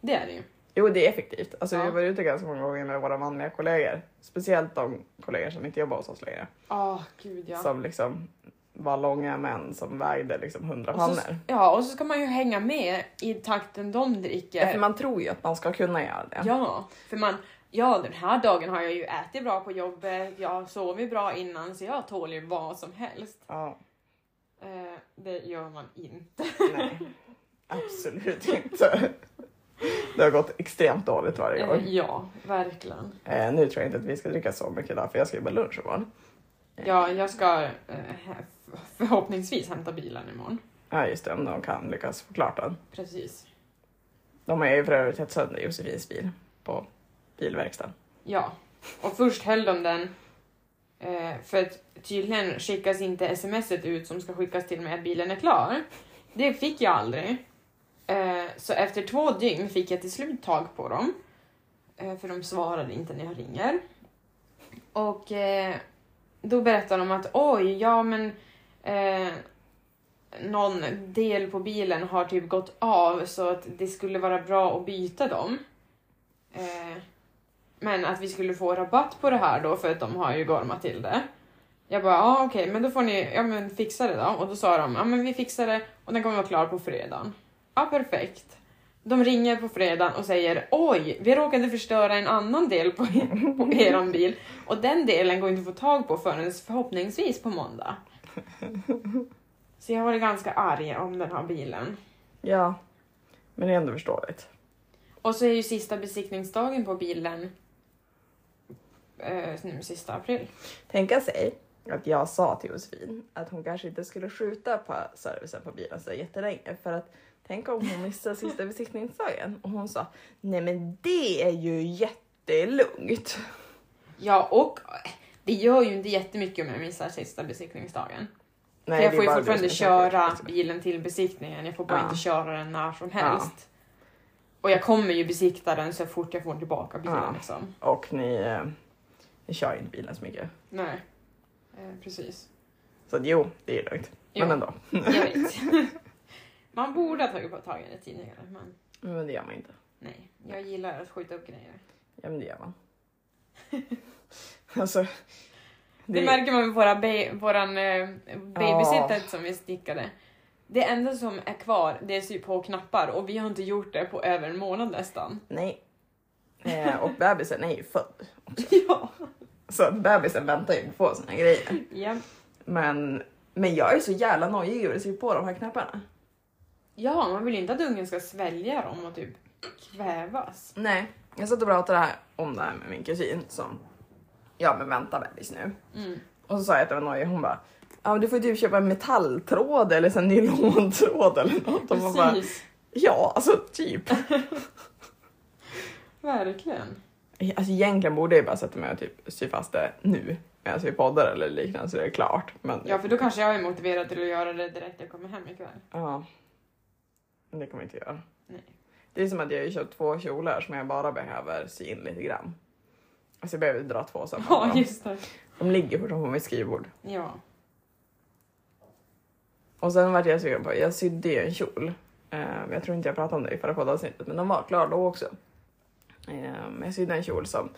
S2: Det är det ju.
S1: Jo, det är effektivt. Alltså, Vi
S2: Ja.
S1: har varit ute ganska många gånger med våra manliga kollegor. Speciellt de kollegor som inte jobbar hos oss längre.
S2: Ja, gud ja.
S1: Som liksom var långa män som vägde liksom 100
S2: och så,
S1: pannor.
S2: ja, och så ska man ju hänga med i takten de dricker.
S1: Ja, för man tror ju att man ska kunna göra det.
S2: Ja, för man, ja den här dagen har jag ju ätit bra på jobbet, jag har sovit bra innan så jag tål ju vad som helst.
S1: Ja,
S2: Eh, det gör man inte.
S1: nej. Absolut inte. Det har gått extremt dåligt varje
S2: Eh,
S1: gång.
S2: ja, verkligen.
S1: Eh, nu tror jag inte att vi ska dricka så mycket idag för jag ska ju på lunch imorgon.
S2: Ja, jag ska eh, f- förhoppningsvis hämta bilen imorgon.
S1: Ja just det, om de kan lyckas få klart den.
S2: Precis.
S1: De har ju för övrigt tagit sönder Josefins bil på bilverkstaden.
S2: Ja, och först höll de den eh, för att tydligen skickas inte smset ut som ska skickas till mig att bilen är klar. Det fick jag aldrig. Eh, så efter två dygn fick jag till slut tag på dem. Eh, för de svarade inte när jag ringer. Och eh, då berättar de att oj, ja men eh, någon del på bilen har typ gått av så att det skulle vara bra att byta dem. Eh, men att vi skulle få rabatt på det här då för att de har ju gormat till det. Jag bara, ja ah, okej, men då får ni ja, men fixa det då. Och då sa de, ja men vi fixar det och den kommer vara klar på fredagen. Ja, perfekt. De ringer på fredagen och säger, oj, vi råkade förstöra en annan del på, på er bil och den delen går inte att få tag på förrän förhoppningsvis på måndag. Så jag har varit ganska arg om den här bilen.
S1: Ja, men det är ändå förståeligt.
S2: Och så är ju sista besiktningsdagen på bilen eh, nu sista april.
S1: Tänka sig att jag sa till Josefin att hon kanske inte skulle skjuta på servicen på bilen så jättelänge för att tänk om hon missar sista besiktningsdagen och hon sa nej men det är ju jättelugnt.
S2: Ja, och eh, det gör ju inte jättemycket om jag missar sista besiktningsdagen.
S1: Nej,
S2: För jag
S1: det är
S2: får ju
S1: bara du
S2: fortfarande
S1: som kan
S2: köra
S1: skjuta.
S2: bilen till besiktningen, jag får bara
S1: Ja.
S2: inte köra den när som helst. Och jag kommer ju besikta den så fort jag får tillbaka bilen.
S1: Ja.
S2: Liksom.
S1: Och ni, eh, ni kör inte bilen så mycket.
S2: Nej. Eh, precis.
S1: Så att, jo, det är lugnt. Men
S2: Jo.
S1: ändå.
S2: Jag vet. Man borde ha tagit på tag i det tidigare, men
S1: Men det gör man inte.
S2: nej. Jag gillar att skjuta upp grejer.
S1: Ja men det gör man. alltså.
S2: Det, märker man med våra ba- våran eh, babysitter som vi stickade. Det enda som är kvar det är sy på knappar och vi har inte gjort det på över en månad nästan.
S1: Nej. Eh, och bebisen är ju född.
S2: Ja.
S1: Så att bebisen väntar ju på sina grejer.
S2: ja.
S1: Men, men jag är så jävla nojig över att sy på de här knapparna.
S2: Ja, man vill inte att ungen ska svälja dem och typ kvävas.
S1: Nej. Jag satt och pratade här om det här med min kusin som, ja men vänta bebis nu.
S2: Mm.
S1: Och så sa jag att det var nojig, hon bara Ja men du får ju typ köpa en metalltråd eller så här nylontråd eller något. Och man bara,
S2: Precis.
S1: ja alltså typ.
S2: Verkligen.
S1: Alltså egentligen borde jag ju bara sätta mig och typ sy fast det nu medan vi poddar eller liknande så det är klart. Men
S2: Ja, för då kanske jag är motiverad till att göra det direkt jag kommer hem ikväll.
S1: Ja. Men Det kommer jag inte göra.
S2: Nej.
S1: Det är som att jag har ju köpt två kjolar som jag bara behöver sy in lite grann. Alltså jag behöver dra två samman.
S2: Ja,
S1: dem.
S2: just det.
S1: De ligger fortfarande på mitt skrivbord.
S2: Ja.
S1: Och sen vart jag sugen på, jag sydde ju en kjol. Eh, jag tror inte jag pratade om det i förra poddavsnittet men den var klar då också. Um, jag sydde en kjol som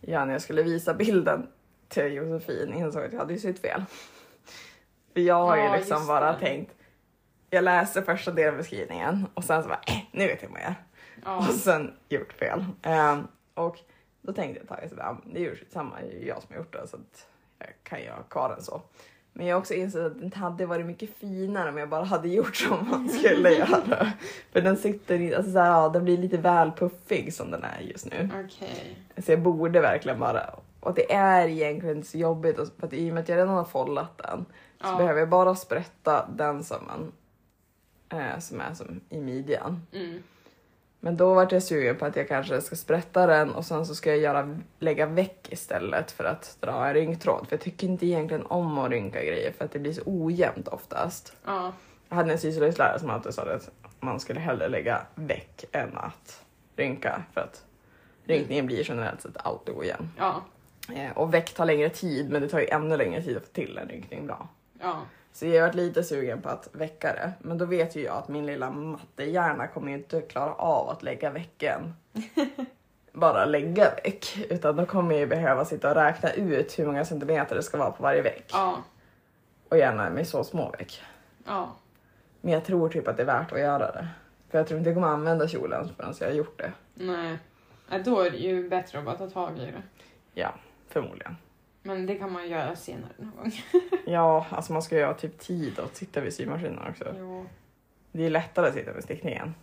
S1: jag när jag skulle visa bilden till Josefin insåg att jag hade ju sytt fel. För jag har
S2: Ja,
S1: ju liksom
S2: just
S1: bara
S2: det.
S1: tänkt, jag läser första delen av beskrivningen och sen så bara, eh, nu vet jag vad jag gör.
S2: Ja.
S1: Och sen gjort fel. Ehm, och då tänkte jag ta det där, det är ju samma, det är ju jag som har gjort det så att jag kan göra kvar den så. Men jag har också insett att den hade varit mycket finare om jag bara hade gjort som man skulle göra. För den sitter i- alltså så här, ja, den blir lite väl puffig som den är just nu.
S2: Mm. Okej.
S1: Så jag borde verkligen bara, och det är egentligen inte så jobbigt och- för att i och med att jag redan har follat den så
S2: Ja.
S1: behöver jag bara sprätta den sömmen eh, som är som i midjan.
S2: Mm.
S1: Men då vart jag sugen på att jag kanske ska sprätta den och sen så ska jag göra, lägga väck istället för att dra en rynktråd. För jag tycker inte egentligen om att rynka grejer för att det blir så ojämnt oftast.
S2: Ja.
S1: Jag hade en syslöjdslärare som alltid sa det att man skulle hellre lägga väck än att rynka för att rynkningen blir generellt sett alltid ojämn.
S2: Ja.
S1: Eh, Och väck tar längre tid men det tar ju ännu längre tid att få till en rynkning bra.
S2: Ja.
S1: Så jag har varit lite sugen på att väcka det. Men då vet ju jag att min lilla mattehjärna kommer ju inte klara av att lägga väcken. Bara lägga väck. Utan då kommer jag ju behöva sitta och räkna ut hur många centimeter det ska vara på varje väck.
S2: Ja.
S1: Och gärna med så små väck.
S2: Ja.
S1: Men jag tror typ att det är värt att göra det. För jag tror inte jag kommer använda kjolen förrän jag har gjort det.
S2: Nej. Ja, Då är det ju bättre att bara ta tag i det.
S1: Ja, förmodligen.
S2: Men det kan man göra senare någon gång.
S1: Ja, alltså man ska ju ha typ tid att sitta vid symaskinen också.
S2: Jo.
S1: Det är lättare att sitta vid stickningen.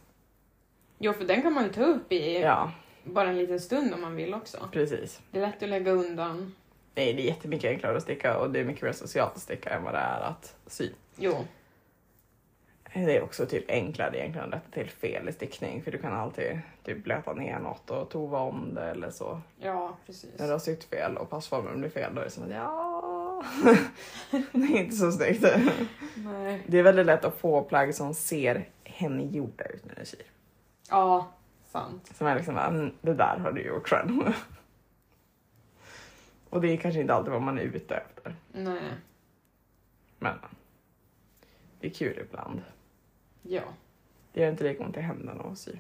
S2: jo, för den kan man ju ta upp i
S1: Ja,
S2: bara en liten stund om man vill också.
S1: precis.
S2: Det är lätt att lägga undan.
S1: Nej, det är jättemycket enklare att sticka och det är mycket mer socialt att sticka än vad det är att sy.
S2: Jo.
S1: Det är också typ enklare egentligen att rätta till fel i stickning för du kan alltid typ blöta ner något och tova om det eller så.
S2: Ja, precis.
S1: När du har sytt fel och passformen blir fel då är det som att ja, det är inte så snyggt.
S2: Nej.
S1: Det är väldigt lätt att få plagg som ser hemgjorda ut när du syr.
S2: Ja, sant.
S1: Som är liksom bara, "Mm, det där har du gjort själv. Och det är kanske inte alltid vad man är ute efter.
S2: Nej.
S1: Men det är kul ibland.
S2: Ja.
S1: Det gör inte lika ont i händerna att sy.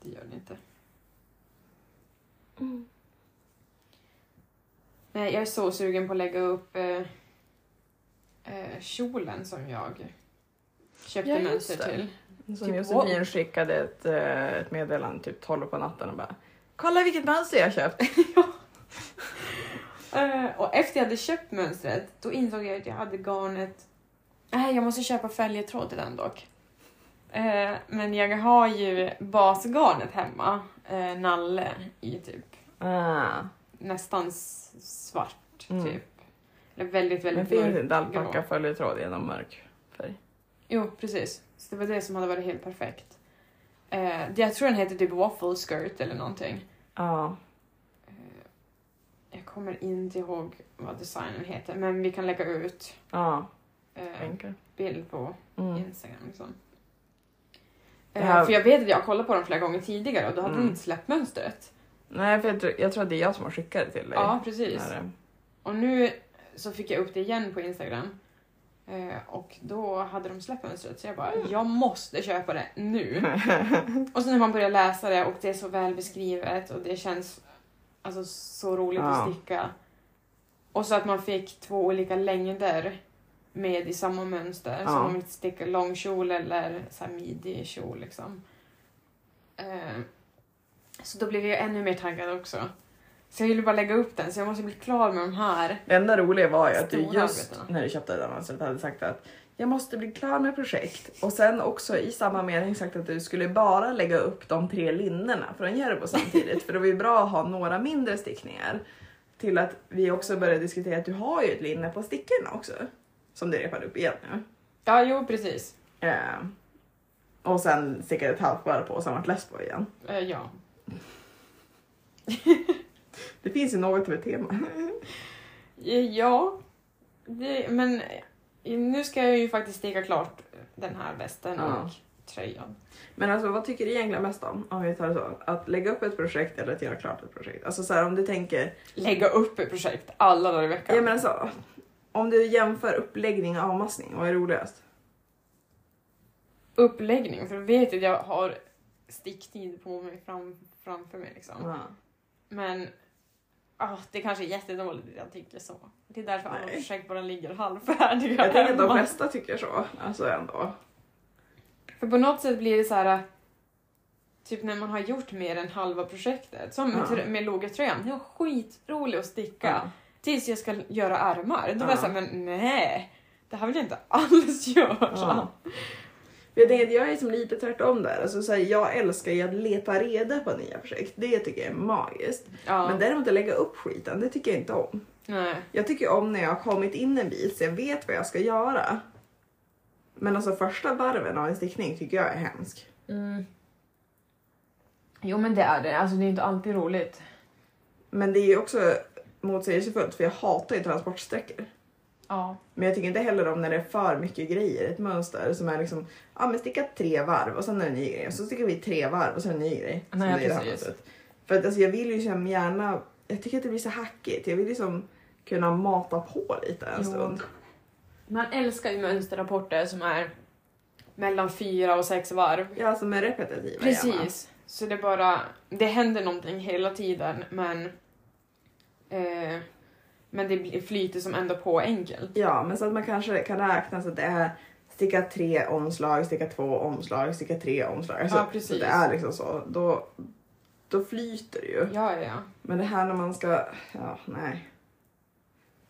S2: Det gör det inte.
S1: Mm.
S2: Nej, jag är så sugen på att lägga upp eh, eh, kjolen som jag köpte
S1: Ja, just
S2: mönster
S1: det.
S2: till.
S1: Som
S2: Typ,
S1: Josefin
S2: wow.
S1: skickade ett, eh, ett meddelande typ 12 på natten och bara Kolla vilket mönster jag köpt!
S2: Eh, och efter jag hade köpt mönstret, då insåg jag att jag hade garnet... Nej, jag måste köpa fälgetråd till den dock. Eh, men jag har ju basgarnet hemma, eh, nalle, i typ
S1: Ah,
S2: nästan s- svart,
S1: Mm.
S2: typ. Eller väldigt,
S1: men
S2: väldigt
S1: finns inte
S2: grå.
S1: alpacka följetråd genom mörk färg?
S2: Jo, precis. Så det var det som hade varit helt perfekt. Eh, det- jag tror den heter typ waffle skirt eller någonting.
S1: Ja,
S2: Eh, jag kommer inte ihåg vad designen heter, men vi kan lägga ut
S1: ja,
S2: eh,
S1: tänker.
S2: bild på
S1: Mm.
S2: Instagram. Liksom.
S1: Det här-
S2: Eh, för jag vet att jag har kollat på dem flera gånger tidigare och då hade
S1: Mm.
S2: de inte släppt mönstret.
S1: Nej, för jag tror, jag tror att det är jag som har skickat det till dig.
S2: Ja, precis.
S1: När, eh,
S2: Och nu så fick jag upp det igen på Instagram. Eh, och då hade de släppt mönstret så jag
S1: Mm.
S2: bara, jag måste köpa det nu. och sen när man börjar läsa det och det är så väl beskrivet och det känns alltså, så roligt
S1: Ja.
S2: att sticka. Och så att man fick två olika längder med i samma mönster.
S1: Ja.
S2: Så om inte sticker långkjol eller så här midjekjol liksom. Eh, så då blev jag ännu mer taggad också. Så jag ville bara lägga upp den, så jag måste bli klar med de här.
S1: Det enda roliga var ju att du
S2: Stora
S1: just
S2: arbeten.
S1: när du köpte den annonsen hade sagt att jag måste bli klar med projekt och sen också i samma mening sagt att du skulle bara lägga upp de tre linnena från Järbo samtidigt för det var ju bra att ha några mindre stickningar. Till att vi också började diskutera att du har ju ett linne på stickorna också som du repade upp igen nu.
S2: Ja, jo precis.
S1: Eh, och sen stickade ett halvt varv på som vart less på igen.
S2: Eh, ja.
S1: Det finns ju något av ett tema.
S2: Eh, Ja, det, men eh, nu ska jag ju faktiskt sticka klart den här västen
S1: Ja.
S2: och tröjan.
S1: Men alltså vad tycker du egentligen mest om? Om vi tar det så. Att lägga upp ett projekt eller att göra klart ett projekt? Alltså så här, om du tänker
S2: Lägga upp ett projekt alla dagar i veckan.
S1: Ja men alltså, om du jämför uppläggning och avmaskning, vad är roligast?
S2: Uppläggning, för då vet jag att jag har sticktid på mig fram, framför mig liksom. Men ah, det kanske är jättedåligt att jag tycker så. Det är därför alla
S1: Nej.
S2: projekt bara ligger halvfärdiga
S1: Jag tänker att de
S2: hemma.
S1: flesta tycker så, alltså ändå.
S2: För på något sätt blir det så här typ när man har gjort mer än halva projektet. Som med,
S1: Ja.
S2: tr- med logotröjan, det var skitroligt att sticka. Tills jag ska göra armar. Då var
S1: Ja.
S2: jag såhär, men nej. Det här vill jag inte alls göra.
S1: Ja. Jag, tänker, att jag är som lite tvärtom där. Alltså, så här, jag älskar ju att leta reda på nya projekt. Det tycker jag är magiskt.
S2: Ja.
S1: Men däremot att lägga upp skiten, det tycker jag inte om.
S2: Nej.
S1: Jag tycker om när jag har kommit in en bit så jag vet vad jag ska göra. Men alltså första varven av en stickning tycker jag är hemsk.
S2: Mm. Jo men det är det. Alltså det är inte alltid roligt.
S1: Men det är ju också motsägelsefullt för jag hatar ju transportsträckor.
S2: Ja.
S1: Men jag tycker inte heller om när det är för mycket grejer, ett mönster som är liksom, ja men sticka tre varv och sen är det en ny grej och så stickar vi tre varv och sen en ny grej. Som
S2: Nej,
S1: det är det här
S2: precis.
S1: mönstret. För att alltså, jag vill ju som gärna, jag tycker att det blir så hackigt, jag vill liksom kunna mata på lite en
S2: Jo.
S1: stund.
S2: Man älskar ju mönsterrapporter som är mellan fyra och sex varv.
S1: Ja, som är repetitiva gärna.
S2: Precis. Så det bara, det händer någonting hela tiden men eh, men det blir- flyter som ändå på enkelt.
S1: Ja, men så att man kanske kan räkna så att det är sticka tre omslag, sticka två omslag, sticka tre omslag. Alltså,
S2: Ja, precis.
S1: Så det är liksom så. Då, då flyter det ju.
S2: Ja, ja, ja.
S1: Men det här när man ska, ja nej.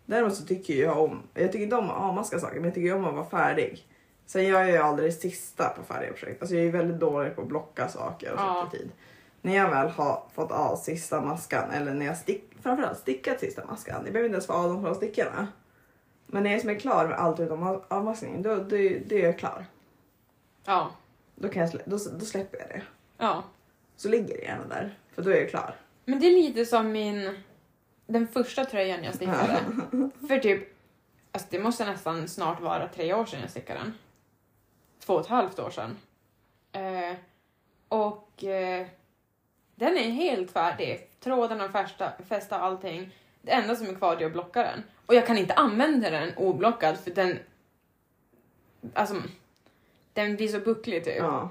S1: Däremot så tycker jag om, jag tycker inte om att avmaska saker men jag tycker om att vara färdig. Sen gör jag ju aldrig sista på färdiga projekt. Alltså jag är väldigt dålig på att blocka saker och
S2: Ja.
S1: sätta tid. När jag väl har fått av sista maskan eller när jag stick, framförallt stickat sista maskan. Det behöver inte ens vara av de två stickorna. Men när jag som är klar med allt utom av- avmaskningen då, då, då är jag klar.
S2: Ja,
S1: Då, kan jag slä, då, då släpper jag det.
S2: ja.
S1: Så ligger det gärna där för då är jag klar.
S2: Men det är lite som min, den första tröjan jag stickade. För typ, alltså det måste nästan snart vara tre år sedan jag stickade den. Två och ett halvt år sedan. Eh, och eh, den är helt färdig. Tråden har fästa, fästa allting. Det enda som är kvar det är att blocka den. Och jag kan inte använda den oblockad för den, alltså, den blir så bucklig typ.
S1: Ja.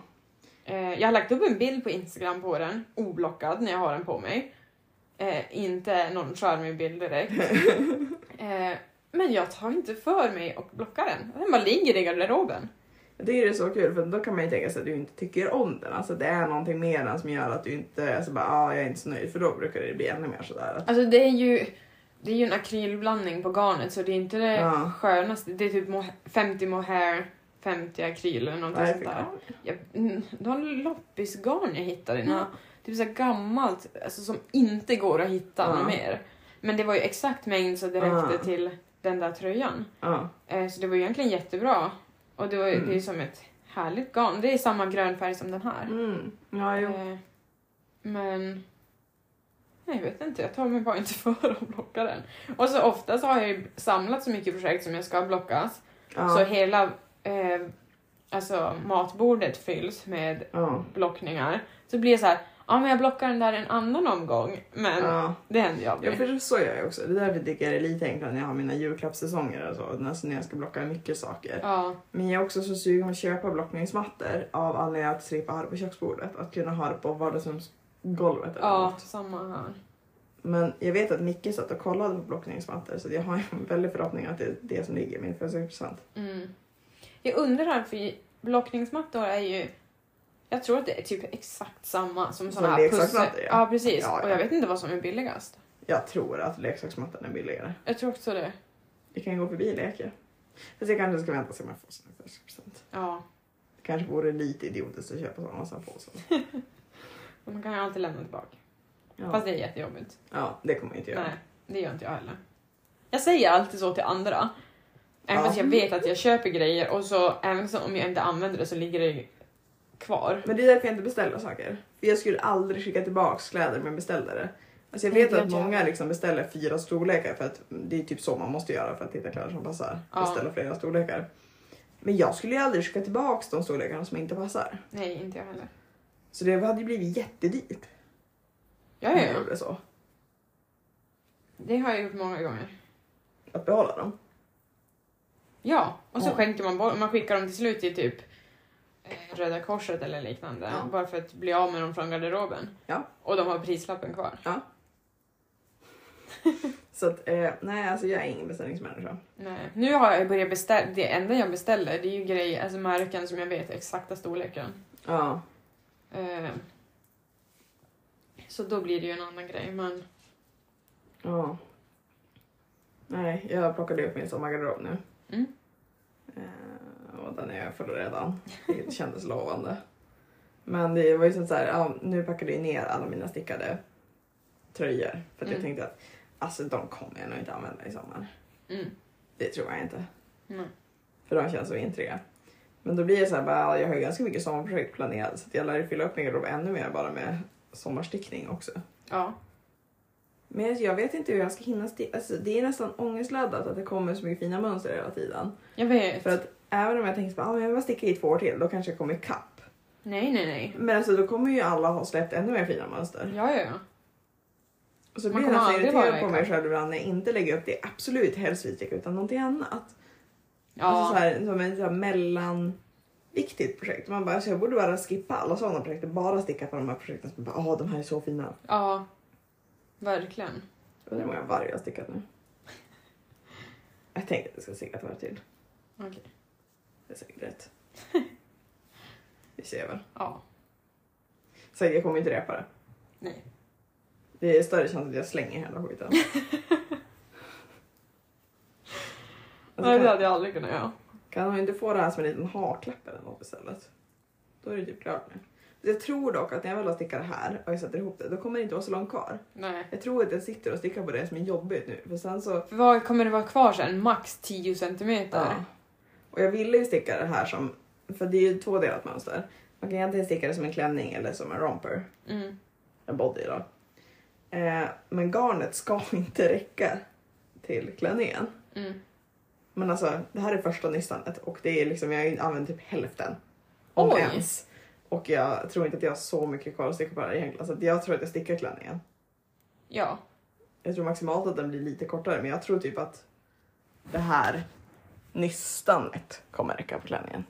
S2: Eh, jag har lagt upp en bild på Instagram på den, oblockad, när jag har den på mig. Eh, inte någon charmig bild direkt. eh, men jag tar inte för mig och blockar den. Den bara ligger i garderoben.
S1: Jag tycker det är så kul för då kan man ju tänka sig att du inte tycker om den. Alltså det är någonting med den som gör att du inte, alltså bara ah, jag är inte så nöjd för då brukar det bli ännu mer sådär. att-
S2: Alltså det är ju, det är ju en akrylblandning på garnet så det är inte det
S1: Ja.
S2: skönaste. Det är typ moha- 50 mohair, 50 akryl eller någonting
S1: vad är det för
S2: sånt där.
S1: garn?
S2: Jag, mm, det var en loppisgarn jag hittade.
S1: Ja.
S2: Mm. Typ så här gammalt, alltså som inte går att hitta
S1: Ja.
S2: något mer. Men det var ju exakt mängd så det
S1: Ja.
S2: räckte till den där tröjan.
S1: Ja,
S2: Eh, så det var ju egentligen jättebra. Och det, var, ju-
S1: Mm.
S2: det är som ett härligt garn. Det är samma grön färg som den här.
S1: mm. ja jo.
S2: Eh, men... Nej, jag vet inte, jag tar mig bara inte för att blocka den. Och så ofta så har jag ju samlat så mycket projekt som jag ska blockas. Så
S1: Ja.
S2: hela eh, alltså matbordet fylls med
S1: Ja.
S2: blockningar. Så blir det så här, ja men jag blockar den där en annan omgång. Men
S1: Ja.
S2: det händer ju
S1: Ja,
S2: aldrig.
S1: för så- så gör jag också. Det är därför jag tycker det är lite enklare när jag har mina julklappssäsonger och så. Alltså när jag ska blocka mycket saker.
S2: Ja,
S1: Men jag är också så sugen på att köpa blockningsmattor av anledningen att slippa ha det på köksbordet. Att kunna ha det på vardagsrumsgolvet eller
S2: ja,
S1: något.
S2: samma här.
S1: Men jag vet att Micke satt och kollade på blockeringsmattor så jag har ju en väldig förhoppning att det är det som ligger i min födelsedagspresent.
S2: Mm. Jag undrar, för blockningsmattor är ju... Jag tror att det är typ exakt samma som sådana här
S1: leksaksmattor,
S2: Ja.
S1: ja.
S2: precis.
S1: Ja, ja.
S2: Och jag vet inte vad som är billigast.
S1: Jag tror att leksaksmattan är billigare.
S2: Jag tror också det.
S1: Vi kan gå förbi och leka. Fast jag kanske ska vänta och se om jag får såna i födelsedagspresent.
S2: Ja.
S1: Det kanske vore lite idiotiskt att köpa sådana och sen få sådana.
S2: Men Man kan ju alltid lämna tillbaka. Fast
S1: Ja.
S2: det är jättejobbigt.
S1: ja, det kommer jag inte göra.
S2: Nej, det gör inte jag heller. Jag säger alltid så till andra. Även
S1: Ja.
S2: fast jag vet att jag köper grejer och så även så om jag inte använder det så ligger det kvar.
S1: Men det är därför jag inte beställer saker. För jag skulle aldrig skicka tillbaks kläder om jag beställde det. Alltså jag
S2: Nej,
S1: vet
S2: det gör
S1: att
S2: inte jag
S1: många
S2: heller.
S1: liksom beställer fyra storlekar för att det är typ så man måste göra för att hitta kläder som passar.
S2: Ja.
S1: Beställa flera storlekar. Men jag skulle ju aldrig skicka tillbaks de storlekarna som inte passar.
S2: Nej, inte jag heller.
S1: Så det hade ju blivit jättedyrt
S2: Ja,
S1: om
S2: ja,
S1: jag
S2: ja.
S1: gjorde så.
S2: Det har jag gjort många gånger.
S1: Att behålla dem.
S2: Ja, och så
S1: Ja.
S2: skänker man bort, man skickar dem till slut till typ eh, Röda Korset eller liknande.
S1: Ja.
S2: Bara för att bli av med dem från garderoben.
S1: Ja.
S2: Och de har prislappen kvar.
S1: Så att eh, nej, alltså jag är ingen beställningsmänniska.
S2: Nej. Nu har jag börjat beställa, det enda jag beställer det är ju grejer, alltså märken som jag vet exakta storleken.
S1: Ja.
S2: Eh, Så då blir det ju en annan grej. Men
S1: ja. Nej, jag plockade upp min sommargarderob nu.
S2: mm.
S1: Eh, och den är jag full redan. Det kändes lovande. Men det var ju som så här, ja, nu packade jag ner alla mina stickade tröjor. För att jag
S2: Mm.
S1: tänkte att alltså, de kommer jag nog inte använda i sommar.
S2: Mm.
S1: Det tror jag inte.
S2: Nej.
S1: För de känns så vintriga. Men då blir det så här, bara, ja, jag har ju ganska mycket sommarprojekt planerat så att jag lär ju fylla upp min garderob ännu mer bara med sommarstickning också.
S2: Ja.
S1: Men jag vet inte hur jag ska hinna sticka. Alltså, det är nästan ångestladdat att det kommer så mycket fina mönster hela tiden.
S2: Jag vet.
S1: För att även om jag tänker så här, ah, men jag bara sticker i två år till, då kanske jag kommer ikapp.
S2: Nej, nej, nej.
S1: Men alltså då kommer ju alla ha släppt ännu mer fina mönster.
S2: Ja, ja, ja.
S1: Och så
S2: Man
S1: blir jag
S2: kommer
S1: nästan
S2: aldrig vara
S1: irriterad på mig
S2: ikapp.
S1: själv ibland när jag inte lägger upp det jag absolut helst vill sticka utan någonting annat.
S2: Ja,
S1: Alltså så här, som en så här mellanviktigt projekt. Man bara, alltså jag borde bara skippa alla sådana projekt och bara sticka på de här projekten som bara, ah de här är så fina.
S2: ja. Verkligen.
S1: Undrar hur många varv jag har stickat nu. Jag tänkte att jag ska sticka ett varv till.
S2: Okej.
S1: Det är säkert rätt. Vi ser väl.
S2: Ja.
S1: Så jag kommer inte repa det.
S2: Nej.
S1: Det är större chans att jag slänger hela skiten. alltså,
S2: Nej, det
S1: kan,
S2: hade jag aldrig kunnat göra.
S1: kan man inte få det här som en liten harklapp eller något istället? Då är det typ klart nu. Jag tror dock att när jag väl har stickat det här och jag sätter ihop det, då kommer det inte vara så långt kvar.
S2: Nej.
S1: Jag tror att jag sitter och stickar på det som är jobbigt nu. För sen så...
S2: För vad kommer det vara kvar sen? Max 10 centimeter?
S1: Och jag ville ju sticka det här som... För det är ju ett tvådelat mönster. Man kan egentligen sticka det som en klänning eller som en romper.
S2: Mm.
S1: en body då. Eh, men garnet ska inte räcka till klänningen.
S2: Mm.
S1: Men alltså det här är första nystanet och det är liksom, jag har ju använt typ hälften. Om
S2: Oj.
S1: ens. Och jag tror inte att jag har så mycket kvar att sticka på det här egentligen. Så att jag tror att jag stickar klänningen.
S2: Ja.
S1: Jag tror maximalt att den blir lite kortare men jag tror typ att det här nystanet kommer räcka på klänningen.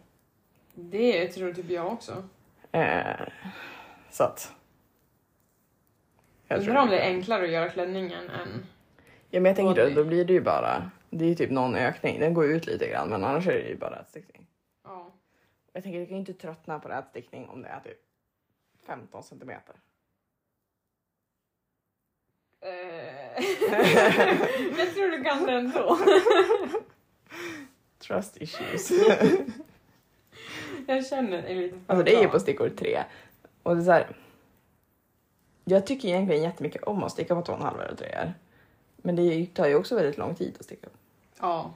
S2: Det tror typ jag också.
S1: Eh, så att. Jag tror-
S2: Undrar om det är enklare att göra klänningen än...
S1: Ja, men jag tänker
S2: Body.
S1: då, då blir det ju bara, det är ju typ någon ökning, den går ut lite grann men annars är det ju bara ätstickning.
S2: Ja.
S1: Jag tänker jag kan ju inte tröttna på ätstickning om det är typ 15 centimeter.
S2: Eh, jag tror du kan det ändå.
S1: Trust issues.
S2: Jag känner dig lite för
S1: alltså det är ju
S2: bra.
S1: på stickor tre. Och det är så här, jag tycker egentligen jättemycket om att sticka på två och en halv eller treor. Men det tar ju också väldigt lång tid att sticka.
S2: Ja.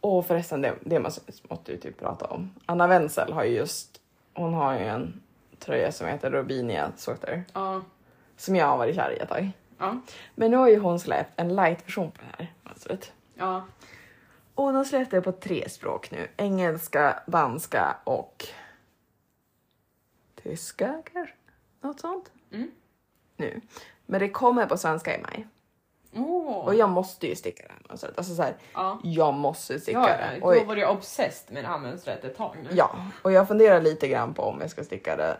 S1: Och förresten, det, det måste, måste vi typ prata om. Anna Wenzel har ju just, hon har ju en tröja som heter Robinia Sorter.
S2: Ja.
S1: Som jag har varit kär i ett tag.
S2: Ja.
S1: Men nu har ju hon släppt en light-version på det här mönstret.
S2: Ja.
S1: Och hon har släppt det på tre språk nu. Engelska, danska och tyska kanske? Något sånt.
S2: Mm.
S1: Nu. Men det kommer på svenska i maj.
S2: Åh.
S1: Och jag måste ju sticka det här mönstret. Alltså så här,
S2: Ja.
S1: jag måste sticka
S2: Ja,
S1: det.
S2: ja,
S1: Och,
S2: då var jag obsessed med det här mönstret ett tag nu.
S1: ja, och jag funderar lite grann på om jag ska sticka det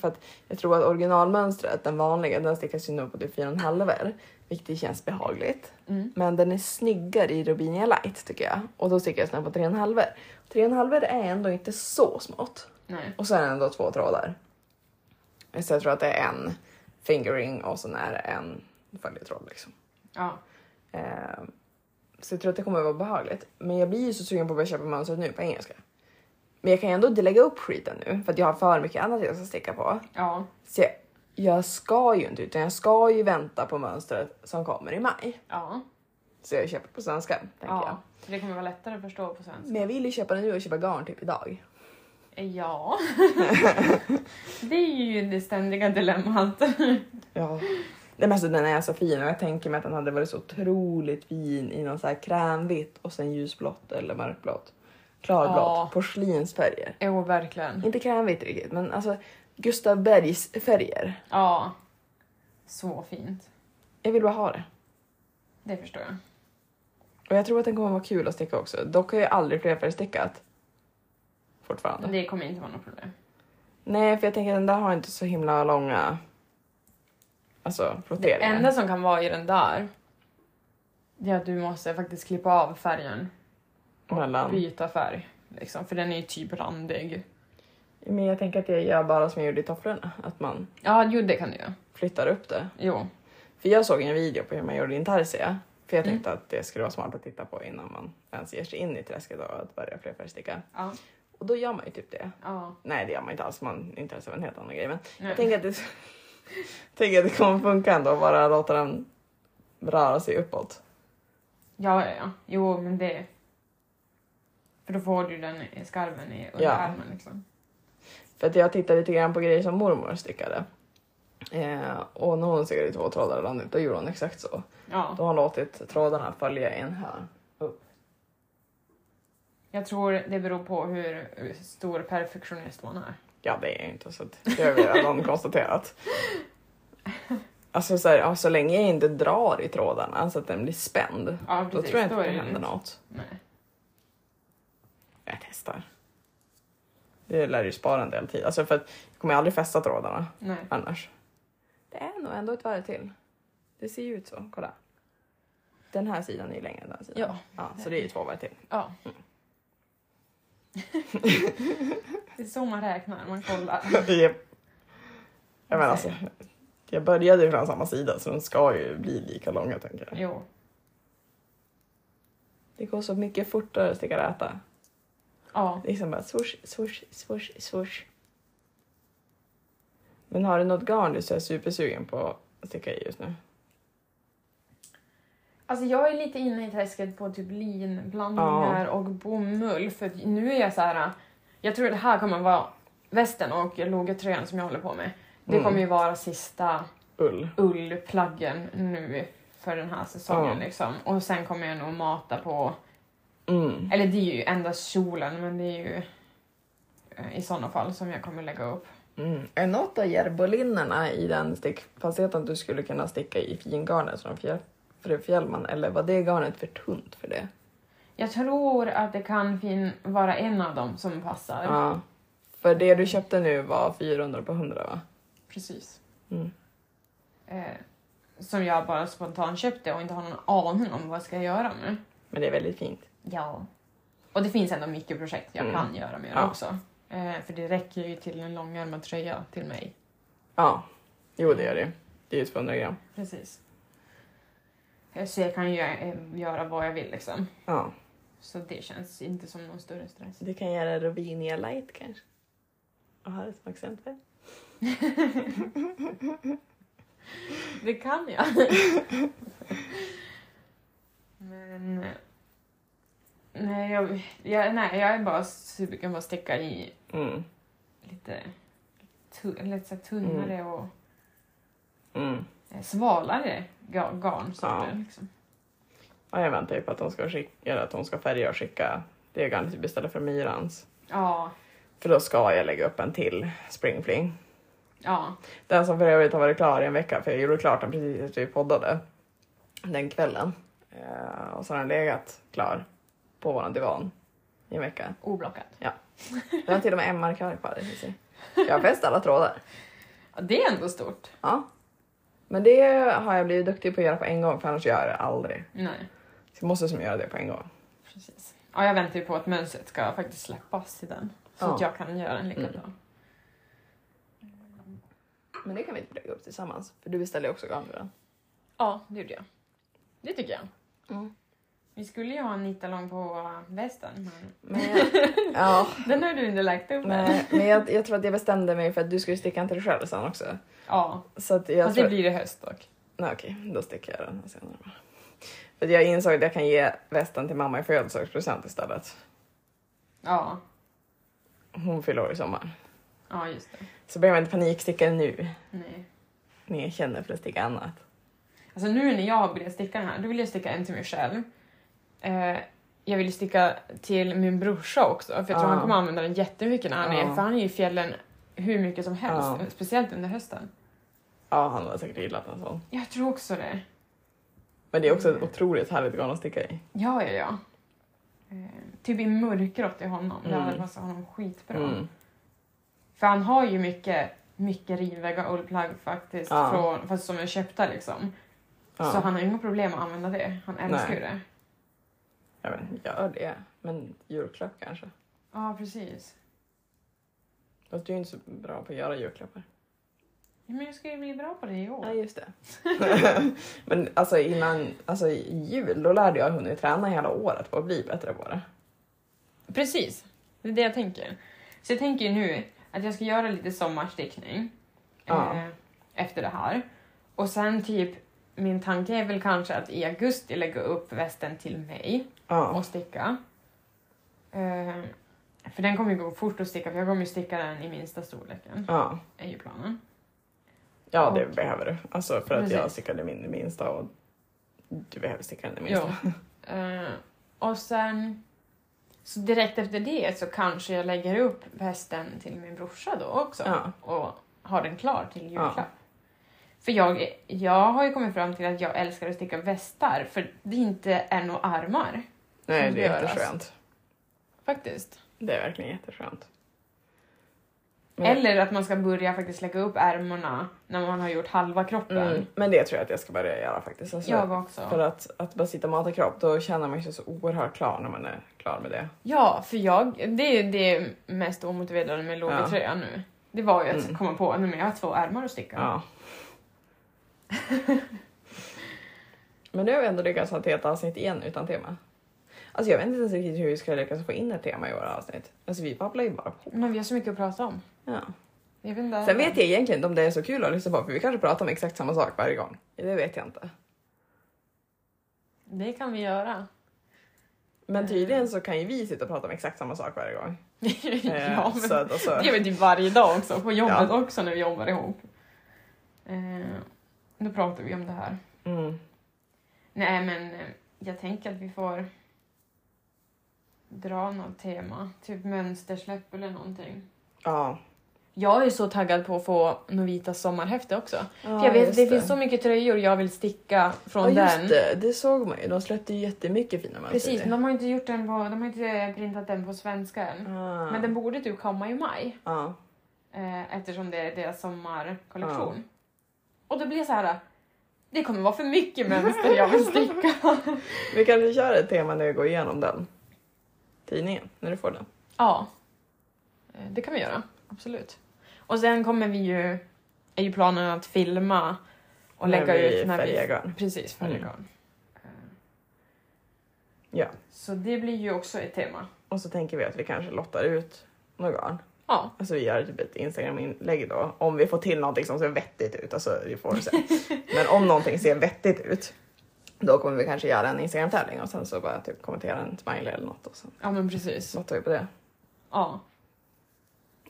S1: För att jag tror att originalmönstret, den vanliga, den stickas ju nog på typ fyra och en halver. Vilket känns behagligt.
S2: Mm.
S1: Men den är snyggare i Robinia light tycker jag. Och då stickas den på tre och en halver. Tre och en halver är ändå inte så smått.
S2: Nej.
S1: Och så är det ändå två trådar. Så jag tror att det är en fingering och sen är det en följetråd liksom.
S2: Ja.
S1: Eh, så jag tror att det kommer att vara behagligt. Men jag blir ju så sugen på att börja köpa mönstret nu på engelska. Men jag kan ju ändå inte lägga upp skiten nu för att jag har för mycket annat jag ska sticka på.
S2: Ja.
S1: Så jag, jag ska ju inte utan jag ska ju vänta på mönstret som kommer i maj.
S2: Ja.
S1: Så jag köper på svenska tänker
S2: ja. För det kommer vara lättare att förstå på
S1: jag.
S2: svenska. Eh,
S1: Men jag vill ju köpa det nu och köpa garn typ idag.
S2: Ja. det är ju det ständiga dilemmat.
S1: Ja. Nej, men alltså, den är så fin och jag tänker mig att den hade varit så otroligt fin i någon så här krämvitt och sen ljusblått eller mörkblått. Klarblått,
S2: Ja.
S1: porslinsfärger.
S2: Jo, verkligen.
S1: Inte krämvitt riktigt men alltså Gustav Bergs färger.
S2: Ja. Så fint.
S1: Jag vill bara ha det.
S2: Det förstår jag.
S1: Och jag tror att den kommer vara kul att sticka också. Dock har jag aldrig flerfärgstickat. Fortfarande.
S2: Det kommer inte vara något problem.
S1: Nej för jag tänker att den där har inte så himla långa alltså
S2: Det
S1: flotteringar.
S2: enda som kan vara i den där det är att du måste faktiskt klippa av färgen och
S1: mellan.
S2: byta färg. Liksom, för den är ju typ randig.
S1: Men jag tänker att jag gör bara som jag gjorde i tofflorna. Att man
S2: Ja, jo det kan du göra.
S1: flyttar upp det.
S2: Jo.
S1: För jag såg en video på hur man gjorde intarsia. För jag
S2: Mm.
S1: tänkte att det skulle vara smart att titta på innan man ens ger sig in i träsket av att börja flerfärgsticka.
S2: Ja.
S1: Och då gör man ju typ det.
S2: ja.
S1: Nej det gör man inte alls, man intarsia var en helt annan grej. Men
S2: Nej.
S1: jag tänker att det, tänker att det kommer funka ändå, bara låta den röra sig uppåt.
S2: Ja, ja, ja. Jo, men det... För då får du den i skarven i under
S1: Ja.
S2: armen liksom.
S1: För att jag tittade lite grann på grejer som mormor stickade. Eh, och när hon stickade två trådar randigt, då gjorde hon exakt så. Då
S2: Ja.
S1: har hon låtit trådarna följa en hörn.
S2: Jag tror det beror på hur stor perfektionist man är.
S1: Ja, det är jag inte så att det har vi redan konstaterat. Alltså så, här, ja, så länge jag inte drar i trådarna så att den blir spänd,
S2: Ja,
S1: då
S2: precis.
S1: tror jag inte att det
S2: är
S1: händer
S2: lugnt.
S1: något.
S2: Nej.
S1: Jag testar. Det lär ju spara en del tid, alltså för att jag kommer ju aldrig fästa trådarna
S2: Nej.
S1: annars. Det är nog ändå ett varv till. Det ser ju ut så, kolla. Den här sidan är ju längre än den här sidan.
S2: Ja.
S1: Ja, så det är ju två varv till.
S2: Ja. det är så man räknar, man kollar.
S1: Japp. Jag menar alltså, jag började ju från samma sida så de ska ju bli lika långa tänker jag.
S2: Jo.
S1: Det går så mycket fortare att sticka och äta.
S2: Ja.
S1: Liksom bara swoosh, swoosh, swoosh, swoosh. Men har du något garn du så är supersugen på att sticka i just nu?
S2: Alltså jag är lite inne i träsket på typ linblandningar och bomull för att nu är jag så här. Jag tror det här kommer vara västen och logetröjan som jag håller på med. Det
S1: Mm.
S2: kommer ju vara sista
S1: Ull.
S2: ullplaggen nu för den här säsongen
S1: Ja.
S2: liksom. Och sen kommer jag nog mata på,
S1: Mm.
S2: eller det är ju endast kjolen men det är ju eh, i sådana fall som jag kommer lägga upp.
S1: Mm. Är något av järbolinnerna i den stickfastheten du skulle kunna sticka i fingarnet från fjär, Fru Fjällman eller var det garnet för tunt för det?
S2: Jag tror att det kan fin- vara en av dem som passar.
S1: Ja. För det du köpte nu var 400 på 100 va?
S2: Precis.
S1: Mm.
S2: Eh, som jag bara spontant köpte och inte har någon aning om vad jag ska göra med.
S1: Men det är väldigt fint.
S2: Ja. Och det finns ändå mycket projekt jag
S1: Mm.
S2: kan göra med det
S1: Ja.
S2: också. Eh, för det räcker ju till en långärmad tröja till mig.
S1: Ja. Jo det gör det Det är ju 200 gram.
S2: Precis. Eh, Så jag kan ju eh, göra vad jag vill liksom.
S1: Ja.
S2: Så det känns inte som någon större stress.
S1: Du kan göra Rovinia light kanske? Och ha det som accentfärg.
S2: Det kan jag. Men... eh, Nej jag, jag, nej, jag är bara sugen på att sticka i
S1: Mm.
S2: lite, tu- lite så här tunnare och
S1: Mm.
S2: eh, svalare ga- garnsorter.
S1: Ja.
S2: Liksom.
S1: Ja, jag väntar ju på att hon ska, skicka, eller att hon ska färga och skicka det garnet vi beställde för Myrans.
S2: ja,
S1: För då ska jag lägga upp en till springfling.
S2: ja,
S1: Den som för övrigt har varit klar i en vecka, för jag gjorde klart den precis efter vi poddade. Den kvällen. Eh, och så har den legat klar på våran divan i en vecka.
S2: oblockad.
S1: Den har till och med MR-kvar kvar. i sig. Jag har fäst alla trådar.
S2: Ja, det är ändå stort.
S1: Ja. Men det har jag blivit duktig på att göra på en gång för annars gör jag det aldrig.
S2: Nej,
S1: Så jag måste som göra det på en gång.
S2: precis. Ja, jag väntar ju på att mönstret ska faktiskt släppas i den. Så
S1: Ja.
S2: att jag kan göra en lika
S1: Mm.
S2: bra.
S1: Men det kan vi inte lägga upp tillsammans för du beställde ju också garn för den.
S2: Ja, det gjorde jag. Det tycker jag.
S1: Mm.
S2: Vi skulle ju ha en nitalong på eh, västen, men
S1: Men jag, ja,
S2: den har du inte lagt upp än.
S1: men, men jag, jag tror att jag bestämde mig för att du skulle sticka en till dig själv sen också.
S2: Ja,
S1: Så att jag
S2: fast
S1: tror...
S2: det blir i höst dock.
S1: Nej, okej, då sticker jag den här senare. bara. För jag insåg att jag kan ge västen till mamma i födelsedagspresent istället.
S2: Ja,
S1: Hon fyller år i sommar.
S2: ja just det.
S1: Så behöver jag inte paniksticka nu.
S2: Nej.
S1: Ni känner för att sticka annat.
S2: Alltså nu när jag har börjat sticka den här, då vill jag sticka en till mig själv. Eh, jag vill ju sticka till min brorsa också, för jag tror
S1: Ja.
S2: han kommer använda den jättemycket när han är,
S1: Ja.
S2: för han är ju i fjällen hur mycket som helst,
S1: Ja.
S2: speciellt under hösten.
S1: Ja, han hade säkert gillat en sån.
S2: Jag tror också det.
S1: Men det är också ett otroligt härligt garn att sticka i.
S2: Ja, ja, ja. Eh, typ i mörkgrått i honom, det hade
S1: Mm.
S2: passat honom skitbra.
S1: Mm.
S2: För han har ju mycket, mycket rivvägga ullplagg faktiskt,
S1: Ja.
S2: från, fast som är köpta liksom.
S1: Ja,
S2: Så han har inga problem att använda det, han älskar
S1: Nej.
S2: ju det.
S1: ja men gör det. Men julklapp kanske.
S2: Ja, precis.
S1: Fast du är ju inte så bra på att göra julklappar.
S2: Ja, men jag ska ju bli bra på det i år.
S1: Nej, just det. men alltså innan alltså, jul, då lärde jag hunnit träna hela året på att bli bättre på det.
S2: Precis, det är det jag tänker. Så jag tänker ju nu att jag ska göra lite sommarstickning
S1: Ja.
S2: eh, efter det här. Och sen typ, min tanke är väl kanske att i augusti lägga upp västen till mig
S1: Ja.
S2: och sticka. Eh, för den kommer ju gå fort att sticka för jag kommer ju sticka den i minsta storleken,
S1: Ja.
S2: är ju planen.
S1: Ja, det
S2: Och-
S1: behöver du. Alltså för att jag
S2: Precis.
S1: stickade min i minsta och du behöver sticka den i minsta.
S2: Ja. Eh, och sen, så direkt efter det så kanske jag lägger upp västen till min brorsa då också.
S1: Ja.
S2: och har den klar till julklapp.
S1: Ja.
S2: För jag, jag har ju kommit fram till att jag älskar att sticka västar för det inte är några armar
S1: Nej,
S2: Som
S1: det
S2: ska
S1: är
S2: göras.
S1: jätteskönt.
S2: faktiskt.
S1: Det är verkligen jätteskönt.
S2: Eller att man ska börja faktiskt lägga upp ärmarna när man har gjort halva kroppen.
S1: mm, men det tror jag att jag ska börja göra faktiskt. Alltså,
S2: Jag också.
S1: För att, att bara sitta och mata kropp, då känner man sig så oerhört klar när man är klar med det.
S2: Ja, för jag, det är ju det mest omotiverade med låg
S1: Ja.
S2: tröja nu. Det var ju att
S1: Mm.
S2: komma på att jag har två ärmar att sticka.
S1: Ja. Men nu har vi ändå lyckats ha ett helt avsnitt igen utan tema. Alltså jag vet inte ens riktigt hur vi ska lyckas få in ett tema i våra avsnitt. Alltså vi babblar ju bara på.
S2: Men vi har så mycket att prata om.
S1: Ja.
S2: Jag vet inte.
S1: Sen vet jag egentligen inte om det är så kul att lyssna på för vi kanske pratar om exakt samma sak varje gång. Det vet jag inte.
S2: Det kan vi göra.
S1: Men tydligen så kan ju vi sitta och prata om exakt samma sak varje gång. Eh,
S2: ja, men
S1: så att, alltså,
S2: Det gör vi typ varje dag också, på jobbet
S1: Ja.
S2: också när vi jobbar ihop. Eh, då pratar vi om det här.
S1: mm,
S2: Nej men eh, jag tänker att vi får dra något tema, typ mönstersläpp eller någonting.
S1: ja.
S2: Jag är så taggad på att få Novitas sommarhäfte också.
S1: ja.
S2: För jag vet att
S1: just
S2: det, finns så mycket tröjor jag vill sticka från
S1: ja,
S2: den.
S1: just det. Det såg man ju. De släppte ju jättemycket fina mönster.
S2: Precis, men de har inte gjort den på, de har inte printat den på svenska än.
S1: ah.
S2: Men den borde typ komma i maj.
S1: ja.
S2: Eh, eftersom det är deras sommarkollektion. Och då blir jag så här. Det kommer vara för mycket mönster jag vill sticka.
S1: Vi kanske kör ett tema när vi går igenom den tidningen, när du får den.
S2: ja, Eh, det kan vi göra. Absolut. Och sen kommer vi ju, är ju planen att filma och
S1: När
S2: lägga
S1: vi
S2: ut när
S1: färgar
S2: vi...
S1: garn.
S2: Precis, färga
S1: Mm.
S2: garn. Eh,
S1: Ja.
S2: Så det blir ju också ett tema.
S1: Och så tänker vi att vi kanske lottar ut några garn.
S2: Ja,
S1: Alltså vi gör typ ett Instagram-inlägg då. Om vi får till någonting som ser vettigt ut. Alltså vi får se. Men om någonting ser vettigt ut. Då kommer vi kanske göra en Instagram-tävling och sen så bara typ kommentera en smiley eller något och sen
S2: ja men precis.
S1: lottar vi på det.
S2: Ja.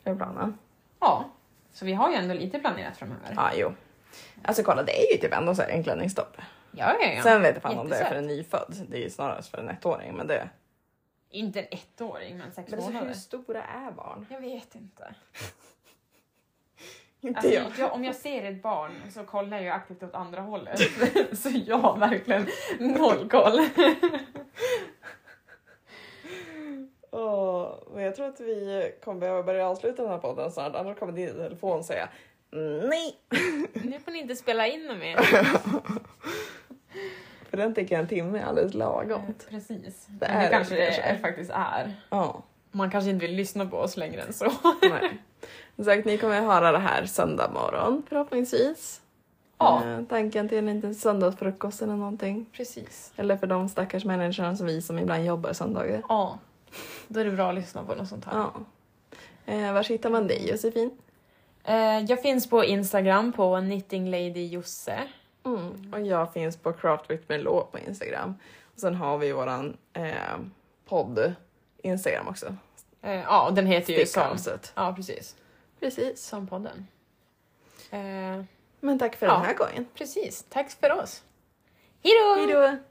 S1: Det är planen.
S2: ja. Så vi har ju ändå lite planerat framöver.
S1: Ja, ah, jo. Alltså kolla, det är ju typ ändå så här en klänningstopp.
S2: Ja, ja, ja.
S1: Sen vet jag fan om det är
S2: Jättesöt.
S1: för en nyfödd. Det är ju snarast för en ettåring. Men det...
S2: Inte en ettåring, men sex
S1: Men alltså, hur
S2: månader.
S1: stora är barn?
S2: Jag vet inte.
S1: Inte
S2: Alltså,
S1: jag.
S2: jag, om jag ser ett barn så kollar jag aktivt åt andra hållet. så jag har verkligen noll koll.
S1: Åh, men jag jag tror att vi kommer behöva börja avsluta den här podden snart, annars kommer din telefon säga nej.
S3: Nu får ni inte spela in något mer.
S1: För den tycker jag en timme är alldeles
S3: Mm.
S1: lagom.
S2: Precis.
S1: Det
S2: Det,
S1: är det
S2: kanske det
S1: kanske.
S2: är, faktiskt är.
S1: Ja,
S2: Man kanske inte vill lyssna på oss längre än så.
S1: nej. Som sagt, ni kommer höra det här söndag morgon förhoppningsvis.
S2: Ja.
S1: Eh, tanken till en liten söndagsfrukost eller någonting.
S2: Precis.
S1: Eller för de stackars människorna som vi som ibland jobbar söndagar.
S2: Ja. Då är det bra att lyssna på något sånt här.
S1: Ja. Eh, var hittar man dig Josefin?
S3: Eh, Jag finns på Instagram på knittingladyjosse.
S1: Mm. Och jag finns på Craft with Melo på Instagram. Och sen har vi våran eh, podd Instagram också.
S3: Eh, Ja, och den heter ju som...
S1: Stickhuset.
S3: Ja, precis.
S1: Precis.
S3: Som podden. Eh,
S1: Men tack för
S2: Eh,
S3: Ja.
S1: den här gången.
S3: Precis. Tack för oss. Hej då!
S1: Hejdå!